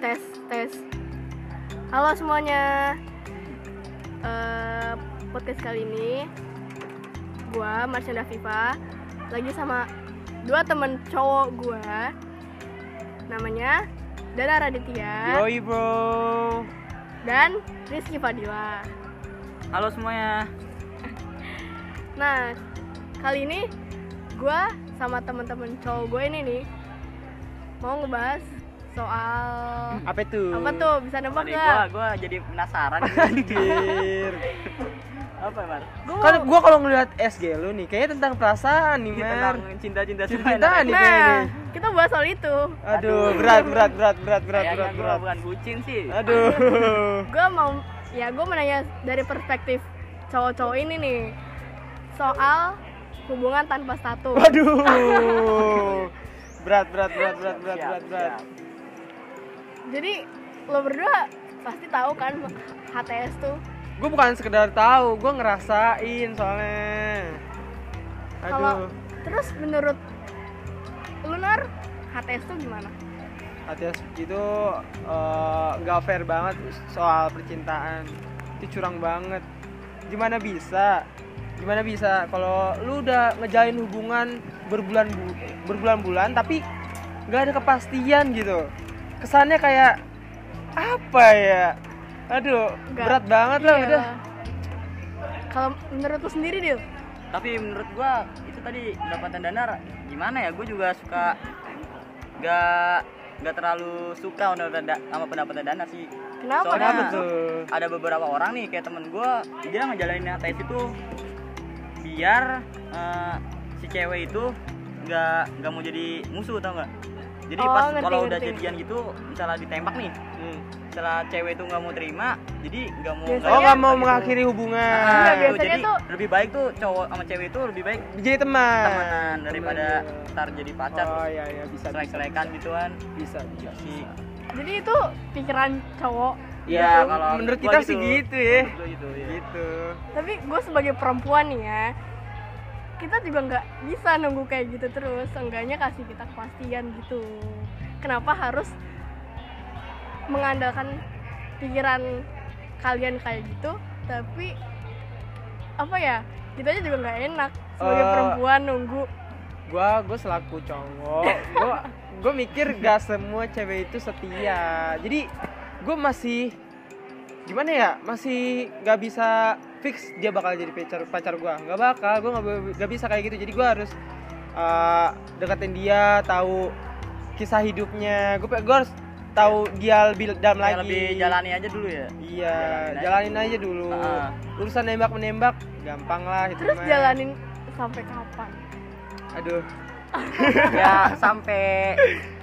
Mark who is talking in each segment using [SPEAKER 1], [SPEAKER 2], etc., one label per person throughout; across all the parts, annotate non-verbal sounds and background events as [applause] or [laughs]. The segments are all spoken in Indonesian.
[SPEAKER 1] tes tes halo semuanya Eh, podcast kali ini gua Marcella Viva lagi sama dua temen cowok gua namanya Dara Raditya
[SPEAKER 2] Yoi bro
[SPEAKER 1] dan Rizky Fadila
[SPEAKER 2] Halo semuanya
[SPEAKER 1] nah kali ini gua sama temen-temen cowok gue ini nih mau ngebahas soal
[SPEAKER 3] apa tuh
[SPEAKER 1] apa tuh bisa nebak
[SPEAKER 2] Tadi Hmm. gua,
[SPEAKER 1] gak?
[SPEAKER 2] gua jadi
[SPEAKER 3] [laughs]
[SPEAKER 2] penasaran [laughs]
[SPEAKER 3] anjir
[SPEAKER 2] Apa Mar?
[SPEAKER 1] Gua-
[SPEAKER 3] kan gua kalau ngeliat SG lu nih kayaknya tentang perasaan nih mer
[SPEAKER 2] Iya, Tentang cinta-cinta
[SPEAKER 3] Cinta-cintaan nih.
[SPEAKER 1] Nah, kita bahas soal itu.
[SPEAKER 3] aduh berat berat berat berat berat
[SPEAKER 2] Kayaknya
[SPEAKER 3] berat
[SPEAKER 2] gua
[SPEAKER 3] berat
[SPEAKER 2] bukan bucin sih
[SPEAKER 3] aduh
[SPEAKER 2] [laughs]
[SPEAKER 1] Gue mau, ya gue menanya dari perspektif cowok-cowok ini nih soal hubungan tanpa status.
[SPEAKER 2] [laughs]
[SPEAKER 3] waduh berat berat berat berat berat
[SPEAKER 2] Siap,
[SPEAKER 3] berat berat
[SPEAKER 2] siap.
[SPEAKER 1] Jadi lo berdua pasti tahu kan HTS tuh.
[SPEAKER 3] gua bukan sekedar tahu gua ngerasain soalnya
[SPEAKER 1] Kalau
[SPEAKER 3] aduh
[SPEAKER 1] terus menurut Lunar HTS tuh gimana?
[SPEAKER 3] hati itu eh, nggak fair banget soal percintaan itu curang banget gimana bisa gimana bisa kalau lu udah ngejalin hubungan berbulan bu- berbulan-bulan tapi nggak ada kepastian gitu kesannya kayak apa ya aduh
[SPEAKER 1] Nggak.
[SPEAKER 3] berat banget lah
[SPEAKER 1] Iya
[SPEAKER 3] udah
[SPEAKER 1] lah. Kalau menurut lo sendiri Dil,
[SPEAKER 2] Tapi menurut gua itu tadi pendapatan danar Gimana ya gua juga suka Gak Gak terlalu suka sama pendapatan- sama pendapatan danar sih
[SPEAKER 1] kenapa?
[SPEAKER 2] Soalnya-
[SPEAKER 3] kenapa
[SPEAKER 1] Dil?
[SPEAKER 3] tuh
[SPEAKER 2] ada beberapa orang nih kayak temen gue dia ngejalanin tes itu biar eh, si cewek itu nggak nggak mau jadi musuh tau nggak jadi
[SPEAKER 1] Oh,
[SPEAKER 2] pas
[SPEAKER 1] ngerti,
[SPEAKER 2] kalau udah
[SPEAKER 1] ngerti.
[SPEAKER 2] jadian gitu misalnya ditembak nih
[SPEAKER 3] Hmm.
[SPEAKER 2] misalnya cewek itu nggak mau terima jadi nggak mau
[SPEAKER 1] Biasanya-
[SPEAKER 3] oh nggak mau
[SPEAKER 2] gitu.
[SPEAKER 3] mengakhiri hubungan
[SPEAKER 2] Nah,
[SPEAKER 1] Iya,
[SPEAKER 2] itu.
[SPEAKER 1] biasanya
[SPEAKER 2] jadi
[SPEAKER 1] tuh-
[SPEAKER 2] lebih baik tuh cowok sama cewek itu lebih baik
[SPEAKER 3] jadi teman
[SPEAKER 2] temenan daripada ntar jadi pacar
[SPEAKER 3] oh iya iya bisa
[SPEAKER 2] selek selekan gitu kan
[SPEAKER 3] bisa bisa
[SPEAKER 2] si
[SPEAKER 1] Jadi itu pikiran cowok.
[SPEAKER 3] Iya, menurut
[SPEAKER 2] gua
[SPEAKER 3] kita sih gitu ya.
[SPEAKER 2] Menurut gua gitu, iya.
[SPEAKER 3] gitu
[SPEAKER 1] Tapi gue sebagai perempuan nih ya, kita juga nggak bisa nunggu kayak gitu terus. Seenggaknya kasih kita kepastian gitu. Kenapa harus mengandalkan pikiran kalian kayak gitu? Tapi apa ya? Kita aja juga nggak enak sebagai
[SPEAKER 3] Eh,
[SPEAKER 1] perempuan nunggu.
[SPEAKER 3] gua gua selaku cowok gua gua mikir gak semua cewek itu setia jadi gua masih gimana ya masih gak bisa fix dia bakal jadi pacar pacar gua nggak bakal gua nggak be- nggak bisa kayak gitu jadi gua harus eh, deketin dia tahu kisah hidupnya gua pe- gua harus tahu dia lebih dalam
[SPEAKER 2] Ya,
[SPEAKER 3] lagi
[SPEAKER 2] lebih jalani aja dulu
[SPEAKER 3] [laughs]
[SPEAKER 2] ya
[SPEAKER 3] iya
[SPEAKER 2] jalanin aja
[SPEAKER 3] jalanin
[SPEAKER 2] dulu.
[SPEAKER 3] aja dulu
[SPEAKER 2] Ah.
[SPEAKER 3] urusan nembak menembak gampang lah itu
[SPEAKER 1] Terus
[SPEAKER 3] mah.
[SPEAKER 1] jalanin sampai kapan?
[SPEAKER 3] aduh Iya,
[SPEAKER 2] ya sampai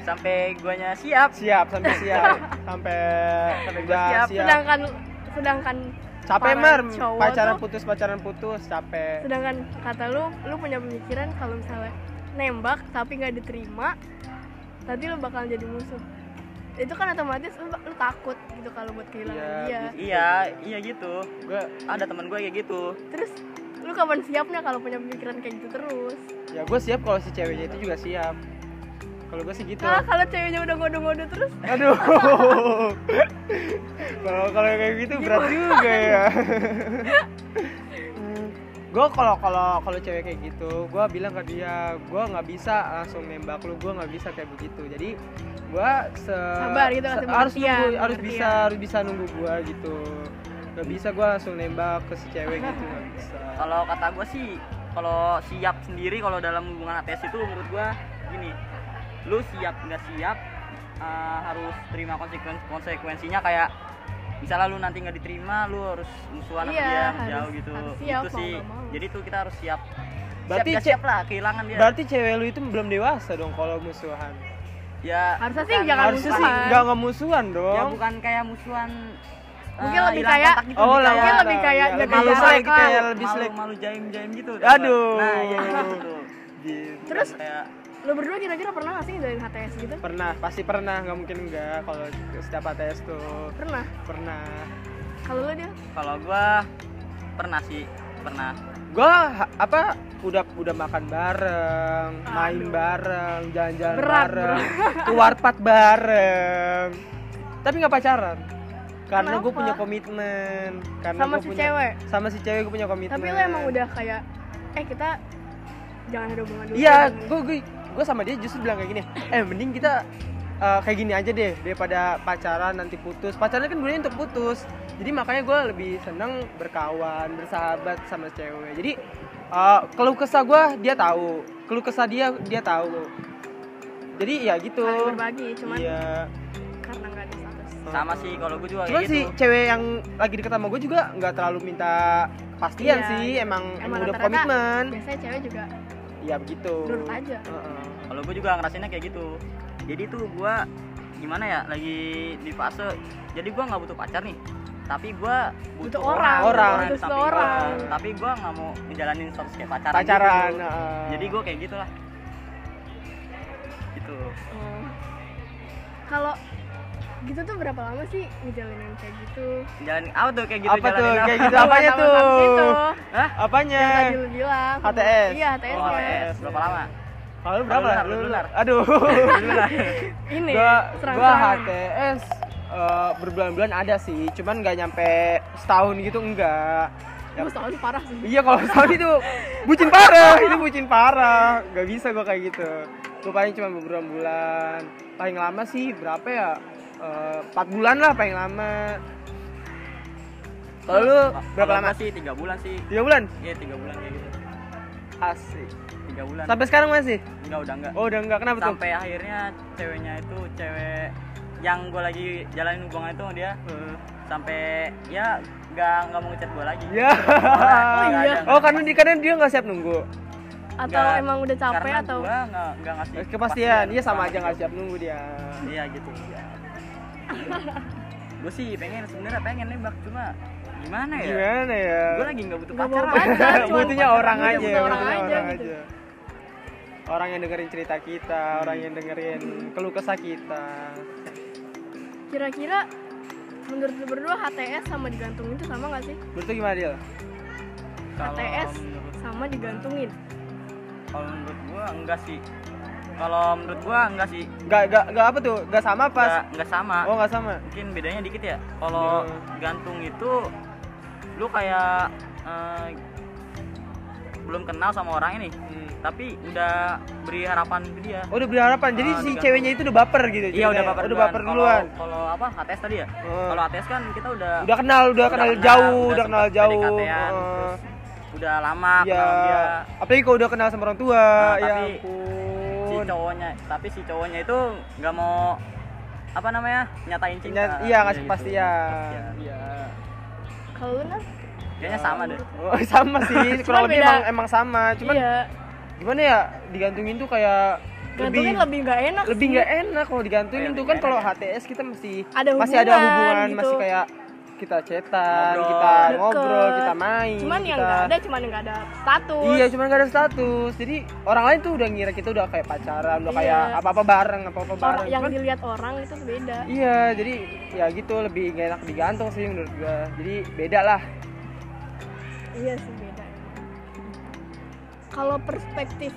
[SPEAKER 2] sampai guanya siap
[SPEAKER 3] siap
[SPEAKER 1] [laughs]
[SPEAKER 3] sampai siap sampai
[SPEAKER 2] Sampai gua
[SPEAKER 3] udah
[SPEAKER 2] siap.
[SPEAKER 3] siap
[SPEAKER 1] Sedangkan sedangkan
[SPEAKER 3] capek
[SPEAKER 1] para
[SPEAKER 3] mer
[SPEAKER 1] cowok
[SPEAKER 3] pacaran
[SPEAKER 1] tuh-
[SPEAKER 3] putus pacaran putus capek
[SPEAKER 1] sedangkan kata lu lu punya pemikiran kalau misalnya nembak tapi nggak diterima nanti lu bakal jadi musuh itu kan otomatis lu, lu takut gitu kalau buat kehilangan
[SPEAKER 3] Iya,
[SPEAKER 1] dia
[SPEAKER 3] bisa.
[SPEAKER 2] iya iya gitu
[SPEAKER 3] gue
[SPEAKER 2] ada teman gue kayak gitu
[SPEAKER 1] terus lu kapan siapnya kalau punya pemikiran kayak gitu terus
[SPEAKER 3] ya gue siap kalau si ceweknya itu juga siap kalau gue sih gitu
[SPEAKER 1] ah kalau ceweknya udah ngode-ngode terus
[SPEAKER 3] aduh kalau kalau kayak gitu berat juga ya gue kalau kalau kalau cewek kayak gitu gue bilang ke dia gue nggak bisa langsung nembak lu gue nggak bisa kayak begitu jadi gue se
[SPEAKER 1] Sabar gitu, kasih
[SPEAKER 3] se- harus
[SPEAKER 1] pengertian,
[SPEAKER 3] nunggu, harus
[SPEAKER 1] pengertian.
[SPEAKER 3] bisa harus bisa nunggu gue gitu nggak bisa gue langsung nembak ke si cewek
[SPEAKER 1] Nah.
[SPEAKER 3] gitu nggak bisa
[SPEAKER 2] kalau kata gue sih kalau siap sendiri kalau dalam hubungan ATS itu menurut gue gini lu siap nggak siap eh, harus terima konsekuen- konsekuensinya kayak misalnya lu nanti nggak diterima lu harus musuhan sama
[SPEAKER 1] Iya,
[SPEAKER 2] dia
[SPEAKER 1] harus-
[SPEAKER 2] jauh gitu
[SPEAKER 1] harus siap,
[SPEAKER 2] itu
[SPEAKER 1] mau
[SPEAKER 2] sih
[SPEAKER 1] nggak mau.
[SPEAKER 2] jadi tuh kita harus siap
[SPEAKER 3] Berarti
[SPEAKER 2] siap, nggak
[SPEAKER 3] ce-
[SPEAKER 2] siap lah kehilangan dia
[SPEAKER 3] berarti cewek lu itu belum dewasa dong kalau musuhan
[SPEAKER 2] ya
[SPEAKER 1] Harusnya sih
[SPEAKER 2] bukan-
[SPEAKER 1] jangan
[SPEAKER 3] harusnya sih
[SPEAKER 1] musuhan.
[SPEAKER 3] nggak nggak musuhan
[SPEAKER 2] ya
[SPEAKER 3] dong
[SPEAKER 2] bukan kayak musuhan
[SPEAKER 1] Mungkin
[SPEAKER 2] eh,
[SPEAKER 1] lebih
[SPEAKER 2] hilang
[SPEAKER 1] kayak-
[SPEAKER 2] kontak gitu,
[SPEAKER 3] Oh,
[SPEAKER 2] lebih
[SPEAKER 3] lah,
[SPEAKER 1] mungkin
[SPEAKER 2] kayak-
[SPEAKER 1] lebih
[SPEAKER 3] lah,
[SPEAKER 1] kayak
[SPEAKER 3] ya,
[SPEAKER 1] jaga
[SPEAKER 3] malu
[SPEAKER 1] jarak
[SPEAKER 3] lagi
[SPEAKER 1] lah.
[SPEAKER 3] kayak lebih
[SPEAKER 2] malu
[SPEAKER 3] selek
[SPEAKER 2] malu jaim jaim gitu
[SPEAKER 3] Aduh.
[SPEAKER 2] nah iya iya gitu
[SPEAKER 3] Gitu.
[SPEAKER 1] Terus?
[SPEAKER 3] [laughs]
[SPEAKER 2] kayak
[SPEAKER 1] lu berdua kira-kira pernah nggak sih ngejalanin HTS gitu
[SPEAKER 3] pernah pasti pernah nggak mungkin enggak kalau setiap ATS tuh
[SPEAKER 1] pernah
[SPEAKER 3] pernah
[SPEAKER 1] kalau lu dia
[SPEAKER 2] kalau gua pernah sih pernah
[SPEAKER 3] gua ha- apa udah udah makan bareng main
[SPEAKER 1] Aduh.
[SPEAKER 3] bareng jalan-jalan
[SPEAKER 1] Berat, [laughs]
[SPEAKER 3] bareng keluar pat bareng tapi nggak pacaran karena gue
[SPEAKER 1] Kenapa?
[SPEAKER 3] punya komitmen karena
[SPEAKER 1] sama
[SPEAKER 3] gua
[SPEAKER 1] si
[SPEAKER 3] punya, ya.
[SPEAKER 1] cewek
[SPEAKER 3] sama si cewek gue punya komitmen
[SPEAKER 1] tapi lo emang udah kayak eh kita jangan ada hubungan dulu
[SPEAKER 3] iya
[SPEAKER 1] jangan-
[SPEAKER 3] gue gue gue sama dia justru bilang kayak gini eh mending kita eh, kayak gini aja deh daripada pacaran nanti putus pacaran kan gunanya untuk putus jadi makanya gue lebih seneng berkawan bersahabat sama cewek jadi eh, keluh kesah gue dia tahu keluh kesah dia dia tahu jadi ya gitu
[SPEAKER 1] saling berbagi cuman
[SPEAKER 3] iya
[SPEAKER 1] karena nggak ada status
[SPEAKER 2] sama sih kalau gue juga
[SPEAKER 3] Cuman
[SPEAKER 2] kayak
[SPEAKER 3] sih
[SPEAKER 2] gitu
[SPEAKER 3] cewek yang lagi deket sama gue juga nggak terlalu minta pastian
[SPEAKER 1] Iya,
[SPEAKER 3] sih,
[SPEAKER 1] iya.
[SPEAKER 3] emang emang
[SPEAKER 1] Emang
[SPEAKER 3] udah
[SPEAKER 1] rata-rata-
[SPEAKER 3] komitmen.
[SPEAKER 1] biasanya cewek juga
[SPEAKER 3] Iya begitu.
[SPEAKER 1] nurut aja
[SPEAKER 3] Heeh.
[SPEAKER 2] kalau gue juga ngerasainnya kayak gitu jadi tuh gue gimana ya lagi di fase jadi gue nggak butuh pacar nih tapi gue butuh,
[SPEAKER 1] Butuh orang,
[SPEAKER 3] orang.
[SPEAKER 2] di
[SPEAKER 1] butuh
[SPEAKER 2] samping gua.
[SPEAKER 1] seorang.
[SPEAKER 2] tapi gue nggak mau ngejalanin status kayak pacaran
[SPEAKER 3] Pacaran.
[SPEAKER 2] gitu.
[SPEAKER 3] heeh.
[SPEAKER 2] jadi gue kayak gitulah gitu
[SPEAKER 1] Oh. kalau gitu tuh berapa lama sih ngejalanin kayak gitu
[SPEAKER 2] jalan apa tuh kayak gitu
[SPEAKER 3] Apa tuh?
[SPEAKER 2] jalanin
[SPEAKER 3] Kayak gitu apanya
[SPEAKER 1] Sama-sama
[SPEAKER 3] tuh?
[SPEAKER 1] gitu
[SPEAKER 2] [laughs] Hah?
[SPEAKER 3] Apanya?
[SPEAKER 1] yang tadi lu bilang
[SPEAKER 3] HTS.
[SPEAKER 1] iya HTS,
[SPEAKER 2] Oh,
[SPEAKER 1] -nya.
[SPEAKER 2] AS. berapa lama?
[SPEAKER 3] Kalau lu berapa?
[SPEAKER 2] Lunar,
[SPEAKER 3] Lu
[SPEAKER 2] lunar.
[SPEAKER 3] Aduh. [laughs]
[SPEAKER 1] ini
[SPEAKER 3] gua gua
[SPEAKER 1] serang-serangan
[SPEAKER 3] HTS eh, berbulan-bulan ada sih, cuman nggak nyampe setahun gitu enggak. Ya,
[SPEAKER 1] gue soalnya parah sih
[SPEAKER 3] Iya kalau setahun itu bucin parah, itu bucin parah. Gak bisa gua kayak gitu. Gue paling cuma beberapa bulan. Paling lama sih berapa ya? Eh, Empat bulan lah paling lama. Kalau lu berapa
[SPEAKER 2] Kalau
[SPEAKER 3] lama?
[SPEAKER 2] gua sih? Tiga bulan sih.
[SPEAKER 3] Tiga bulan.
[SPEAKER 2] Iya tiga bulan kayak gitu.
[SPEAKER 3] Asik.
[SPEAKER 2] Tiga bulan.
[SPEAKER 3] Sampai sekarang masih?
[SPEAKER 2] Enggak udah enggak.
[SPEAKER 3] Oh udah enggak kenapa tuh?
[SPEAKER 2] Sampai akhirnya ceweknya itu cewek yang gue lagi jalanin hubungan itu sama dia
[SPEAKER 3] Eh,
[SPEAKER 2] sampai ya nggak nggak mau ngechat gue lagi.
[SPEAKER 3] Ya.
[SPEAKER 2] Oh, iya. Nggak ada,
[SPEAKER 1] iya.
[SPEAKER 2] nggak
[SPEAKER 3] Oh
[SPEAKER 2] ada.
[SPEAKER 3] karena di karena dia nggak siap nunggu
[SPEAKER 1] atau
[SPEAKER 2] Nggak,
[SPEAKER 1] emang udah capek
[SPEAKER 2] karena
[SPEAKER 1] atau
[SPEAKER 2] gua nggak nggak ngasih
[SPEAKER 3] Eh, kepastian dia sama aja
[SPEAKER 2] nggak
[SPEAKER 3] nggak siap nunggu dia.
[SPEAKER 2] Iya
[SPEAKER 3] [laughs]
[SPEAKER 2] gitu. gue sih pengen sebenarnya pengen nembak cuma gimana ya?
[SPEAKER 3] Gimana ya?
[SPEAKER 2] Gue
[SPEAKER 3] [laughs]
[SPEAKER 2] lagi nggak butuh
[SPEAKER 1] Nggak mau
[SPEAKER 2] pacaran.
[SPEAKER 1] pacar,
[SPEAKER 2] Nggak
[SPEAKER 1] cuma
[SPEAKER 2] butuh
[SPEAKER 3] butuhnya orang
[SPEAKER 1] Butuh
[SPEAKER 3] aja,
[SPEAKER 1] orang
[SPEAKER 3] butuhnya
[SPEAKER 1] aja gitu.
[SPEAKER 3] Orang yang dengerin cerita kita, orang yang dengerin keluh kesah kita.
[SPEAKER 1] kira-kira menurut lu berdua HTS sama digantungin itu sama nggak sih
[SPEAKER 3] Menurut lu gimana Dil?
[SPEAKER 2] Kalau
[SPEAKER 1] HTS
[SPEAKER 2] menurut-
[SPEAKER 1] sama digantungin
[SPEAKER 2] Kalau menurut gua enggak sih. Kalau menurut gua enggak sih.
[SPEAKER 3] Gak, gak, gak apa tuh? Gak sama pas?
[SPEAKER 2] Enggak enggak sama.
[SPEAKER 3] Oh gak sama?
[SPEAKER 2] Mungkin bedanya dikit ya. Kalau
[SPEAKER 3] Iya.
[SPEAKER 2] gantung itu lu kayak eh, belum kenal sama orang ini, tapi udah beri harapan ke dia.
[SPEAKER 3] Hmm. Oh udah berharapan, jadi
[SPEAKER 2] Ah,
[SPEAKER 3] si
[SPEAKER 2] diganggu.
[SPEAKER 3] ceweknya itu udah baper gitu
[SPEAKER 2] Iya udah
[SPEAKER 3] ceritanya.
[SPEAKER 2] baper
[SPEAKER 3] Udah baper duluan
[SPEAKER 2] Kalau- Kalau apa HTS tadi ya?
[SPEAKER 3] Heeh.
[SPEAKER 2] Kalau HTS kan kita udah
[SPEAKER 3] Udah kenal, udah, kenal jauh, udah kenal
[SPEAKER 2] sempet
[SPEAKER 3] jauh
[SPEAKER 2] PDKT-an,
[SPEAKER 3] Heeh.
[SPEAKER 2] ya, terus Udah lama
[SPEAKER 3] Iya,
[SPEAKER 2] kenal dia.
[SPEAKER 3] apalagi kalau udah kenal sama orang tua
[SPEAKER 2] Nah,
[SPEAKER 3] Ya
[SPEAKER 2] tapi- si
[SPEAKER 3] ampun
[SPEAKER 2] cowoknya tapi si cowoknya itu nggak mau apa namanya nyatain cinta
[SPEAKER 3] Nya- Iya
[SPEAKER 2] Kayak
[SPEAKER 3] ngasih
[SPEAKER 2] gitu.
[SPEAKER 3] kepastian
[SPEAKER 2] Kepastian.
[SPEAKER 3] Iya
[SPEAKER 1] kalau lu Nas?
[SPEAKER 2] kayaknya sama deh
[SPEAKER 3] Oh, [laughs] sama sih, kurang lebih
[SPEAKER 1] beda.
[SPEAKER 3] emang, emang sama Cuman
[SPEAKER 1] iya
[SPEAKER 3] gimana ya digantungin tuh kayak
[SPEAKER 1] gantungin
[SPEAKER 3] lebih
[SPEAKER 1] lebih nggak enak
[SPEAKER 3] lebih
[SPEAKER 1] sih.
[SPEAKER 3] nggak enak kalau digantungin
[SPEAKER 2] Kayak
[SPEAKER 3] tuh kan
[SPEAKER 2] lebih
[SPEAKER 3] kalau
[SPEAKER 2] nggak
[SPEAKER 3] HTS kita mesti
[SPEAKER 1] Ada
[SPEAKER 3] masih ada
[SPEAKER 1] hubungan
[SPEAKER 3] hubungan
[SPEAKER 1] gitu.
[SPEAKER 3] masih kayak kita cetan
[SPEAKER 2] Ngobrol.
[SPEAKER 3] kita
[SPEAKER 1] Deket.
[SPEAKER 3] ngobrol kita main
[SPEAKER 1] cuman yang
[SPEAKER 3] kita...
[SPEAKER 1] nggak ada cuman yang nggak ada status
[SPEAKER 3] iya cuman gak ada status jadi orang lain tuh udah ngira kita udah kayak pacaran udah
[SPEAKER 1] Iya.
[SPEAKER 3] kayak apa apa bareng apa apa
[SPEAKER 1] Orang-
[SPEAKER 3] bareng
[SPEAKER 1] yang
[SPEAKER 3] Cuman-
[SPEAKER 1] dilihat orang itu beda
[SPEAKER 3] iya jadi ya gitu lebih gak enak digantung sih menurut gua jadi beda lah
[SPEAKER 1] iya sih beda kalau perspektif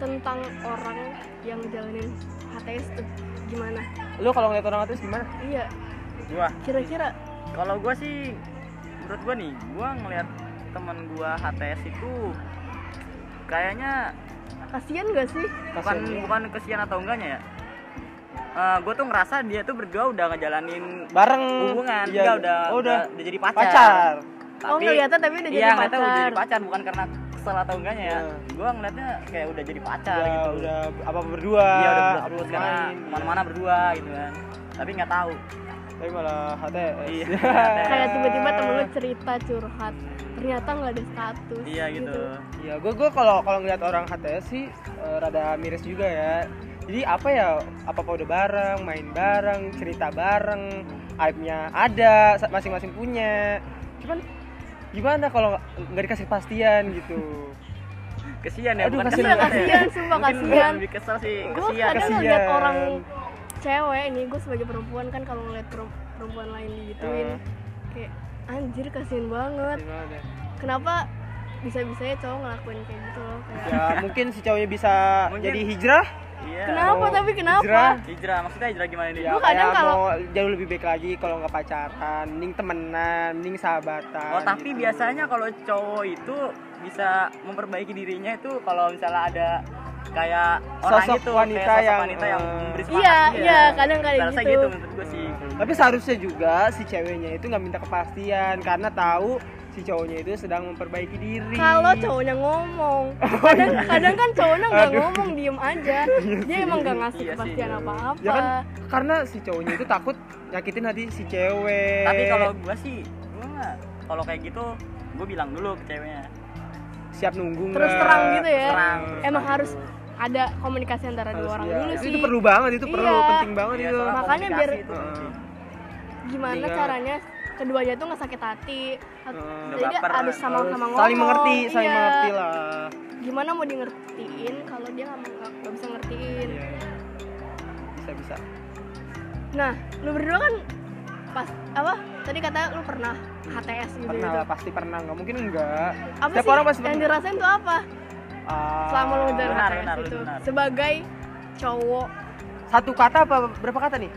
[SPEAKER 1] tentang orang yang jalanin HTS tuh gimana
[SPEAKER 3] lu kalau ngeliat orang HTS gimana
[SPEAKER 1] iya
[SPEAKER 2] gua
[SPEAKER 1] kira-kira
[SPEAKER 2] kalau gua sih menurut gua nih gua ngelihat teman gua HTS itu kayaknya
[SPEAKER 1] kasihan gak sih
[SPEAKER 2] bukan
[SPEAKER 3] Kasian.
[SPEAKER 2] bukan kesian atau enggaknya ya Eh, gua tuh ngerasa dia tuh berdua udah ngejalanin
[SPEAKER 3] bareng
[SPEAKER 2] hubungan
[SPEAKER 3] iya.
[SPEAKER 2] enggak udah,
[SPEAKER 3] oh, udah
[SPEAKER 2] udah jadi pacar,
[SPEAKER 3] pacar
[SPEAKER 1] oh ngeliatnya tapi udah
[SPEAKER 2] iya
[SPEAKER 1] jadi
[SPEAKER 2] nggak tahu udah
[SPEAKER 1] pacar
[SPEAKER 2] jadi pacar bukan karena kesel atau enggaknya ya
[SPEAKER 3] Iya.
[SPEAKER 2] gua ngelihatnya kayak udah jadi pacar
[SPEAKER 3] udah,
[SPEAKER 2] gitu
[SPEAKER 3] Ya, udah apa berdua
[SPEAKER 2] Iya udah berdua
[SPEAKER 3] apa
[SPEAKER 2] terus karena
[SPEAKER 3] main.
[SPEAKER 2] kemana-mana berdua gitu kan. Tapi nggak tahu.
[SPEAKER 3] tapi malah HTS
[SPEAKER 2] Iya.
[SPEAKER 3] [laughs]
[SPEAKER 1] kayak tiba-tiba temen lu cerita curhat ternyata nggak ada status
[SPEAKER 2] Iya gitu.
[SPEAKER 3] ya gue gue kalau kalau ngeliat orang HTS sih eh, rada miris juga ya jadi apa ya apa apa udah bareng main bareng cerita bareng aibnya ada sa- masing-masing punya cuman gimana kalau nggak- nggak dikasih pastian gitu
[SPEAKER 2] Kesian ya
[SPEAKER 3] Aduh,
[SPEAKER 2] bukan
[SPEAKER 3] kasihan.
[SPEAKER 2] kesel ya.
[SPEAKER 1] Iya, Kasihan, sumpah,
[SPEAKER 2] Mungkin
[SPEAKER 1] kasihan.
[SPEAKER 2] Lebih kesel sih,
[SPEAKER 1] gue
[SPEAKER 2] kasihan.
[SPEAKER 1] kadang
[SPEAKER 3] kasihan.
[SPEAKER 1] ngeliat orang cewek ini gue sebagai perempuan kan kalau ngeliat perem- perempuan lain digituin
[SPEAKER 3] Eh.
[SPEAKER 1] kayak anjir kasihan banget
[SPEAKER 3] Gimana?
[SPEAKER 1] kenapa
[SPEAKER 3] Iya.
[SPEAKER 1] bisa bisanya cowok ngelakuin kayak gitu loh kayak
[SPEAKER 3] ya mungkin si cowoknya bisa
[SPEAKER 2] Mungkin.
[SPEAKER 3] jadi hijrah
[SPEAKER 2] Iya.
[SPEAKER 1] Kenapa
[SPEAKER 3] Mau
[SPEAKER 1] tapi kenapa?
[SPEAKER 3] Oh, hijrah?
[SPEAKER 2] Hijrah, maksudnya hijrah gimana nih?
[SPEAKER 3] Ya,
[SPEAKER 1] Gua kadang
[SPEAKER 3] kayak
[SPEAKER 1] kalau-
[SPEAKER 3] mau jauh lebih baik lagi kalau nggak pacaran, mending temenan, mending sahabatan.
[SPEAKER 2] Oh tapi
[SPEAKER 3] gitu.
[SPEAKER 2] biasanya kalau cowok itu bisa memperbaiki dirinya itu kalau misalnya ada kayak orang
[SPEAKER 3] Sosok
[SPEAKER 2] itu
[SPEAKER 3] wanita
[SPEAKER 2] kayak sosok
[SPEAKER 3] yang,
[SPEAKER 2] wanita yang
[SPEAKER 3] eh,
[SPEAKER 2] memberi semangat
[SPEAKER 1] Iya,
[SPEAKER 2] dia.
[SPEAKER 1] iya, kadang kayak
[SPEAKER 2] Rasa
[SPEAKER 1] gitu.
[SPEAKER 2] gitu menurut gue sih.
[SPEAKER 3] Tapi seharusnya juga si ceweknya itu nggak minta kepastian karena tahu si cowoknya itu sedang memperbaiki diri.
[SPEAKER 1] Kalau cowoknya
[SPEAKER 3] [laughs]
[SPEAKER 1] ngomong, kadang, kadang kan cowoknya nggak
[SPEAKER 3] Oh, iya. Aduh.
[SPEAKER 1] ngomong, diem aja. Dia emang nggak ngasih
[SPEAKER 2] Iya sih.
[SPEAKER 1] kepastian apa-apa.
[SPEAKER 3] ya kan karena si cowoknya itu takut nyakitin hati si cewek.
[SPEAKER 2] Tapi kalau gue sih, gue nggak- kalau kayak gitu gue bilang dulu ke ceweknya.
[SPEAKER 3] siap nunggu
[SPEAKER 1] Terus
[SPEAKER 3] nggak?
[SPEAKER 1] terang gitu ya.
[SPEAKER 2] Terang.
[SPEAKER 1] Emang harus
[SPEAKER 2] gitu.
[SPEAKER 1] ada komunikasi antara
[SPEAKER 3] Harus
[SPEAKER 1] dua orang
[SPEAKER 3] iya.
[SPEAKER 1] dulu
[SPEAKER 3] Itu-
[SPEAKER 1] sih.
[SPEAKER 3] Itu perlu banget, itu perlu
[SPEAKER 1] Iya.
[SPEAKER 3] penting banget
[SPEAKER 2] Iya,
[SPEAKER 3] itu.
[SPEAKER 2] soalnya
[SPEAKER 1] Makanya
[SPEAKER 2] komunikasi
[SPEAKER 1] biar-
[SPEAKER 2] itu
[SPEAKER 3] Heeh.
[SPEAKER 2] penting.
[SPEAKER 1] Gimana
[SPEAKER 3] Mendingan.
[SPEAKER 1] caranya keduanya tuh nggak sakit hati.
[SPEAKER 3] Heeh.
[SPEAKER 1] Jadi
[SPEAKER 2] baper.
[SPEAKER 1] harus sama-sama
[SPEAKER 3] Harus
[SPEAKER 1] ngomong.
[SPEAKER 3] saling mengerti, saling
[SPEAKER 1] Iya.
[SPEAKER 3] mengerti lah.
[SPEAKER 1] Gimana mau di ngertiin kalau dia nggak mau- nggak bisa ngertiin.
[SPEAKER 3] Iya. Bisa bisa.
[SPEAKER 1] Iya, Nah, lu berdua kan pas apa? Tadi kata lu pernah HTS gitu.
[SPEAKER 3] Pernah
[SPEAKER 1] gitu.
[SPEAKER 3] lah, pasti pernah nggak mungkin enggak.
[SPEAKER 1] Apa
[SPEAKER 3] Setiap
[SPEAKER 1] sih
[SPEAKER 3] orang pasti
[SPEAKER 1] yang
[SPEAKER 3] pernah.
[SPEAKER 1] dirasain tuh apa?
[SPEAKER 3] Ah,
[SPEAKER 1] Selama lu ngejar
[SPEAKER 2] benar,
[SPEAKER 1] HTS
[SPEAKER 2] benar,
[SPEAKER 1] itu
[SPEAKER 2] benar.
[SPEAKER 1] sebagai cowok.
[SPEAKER 3] satu kata apa berapa kata nih?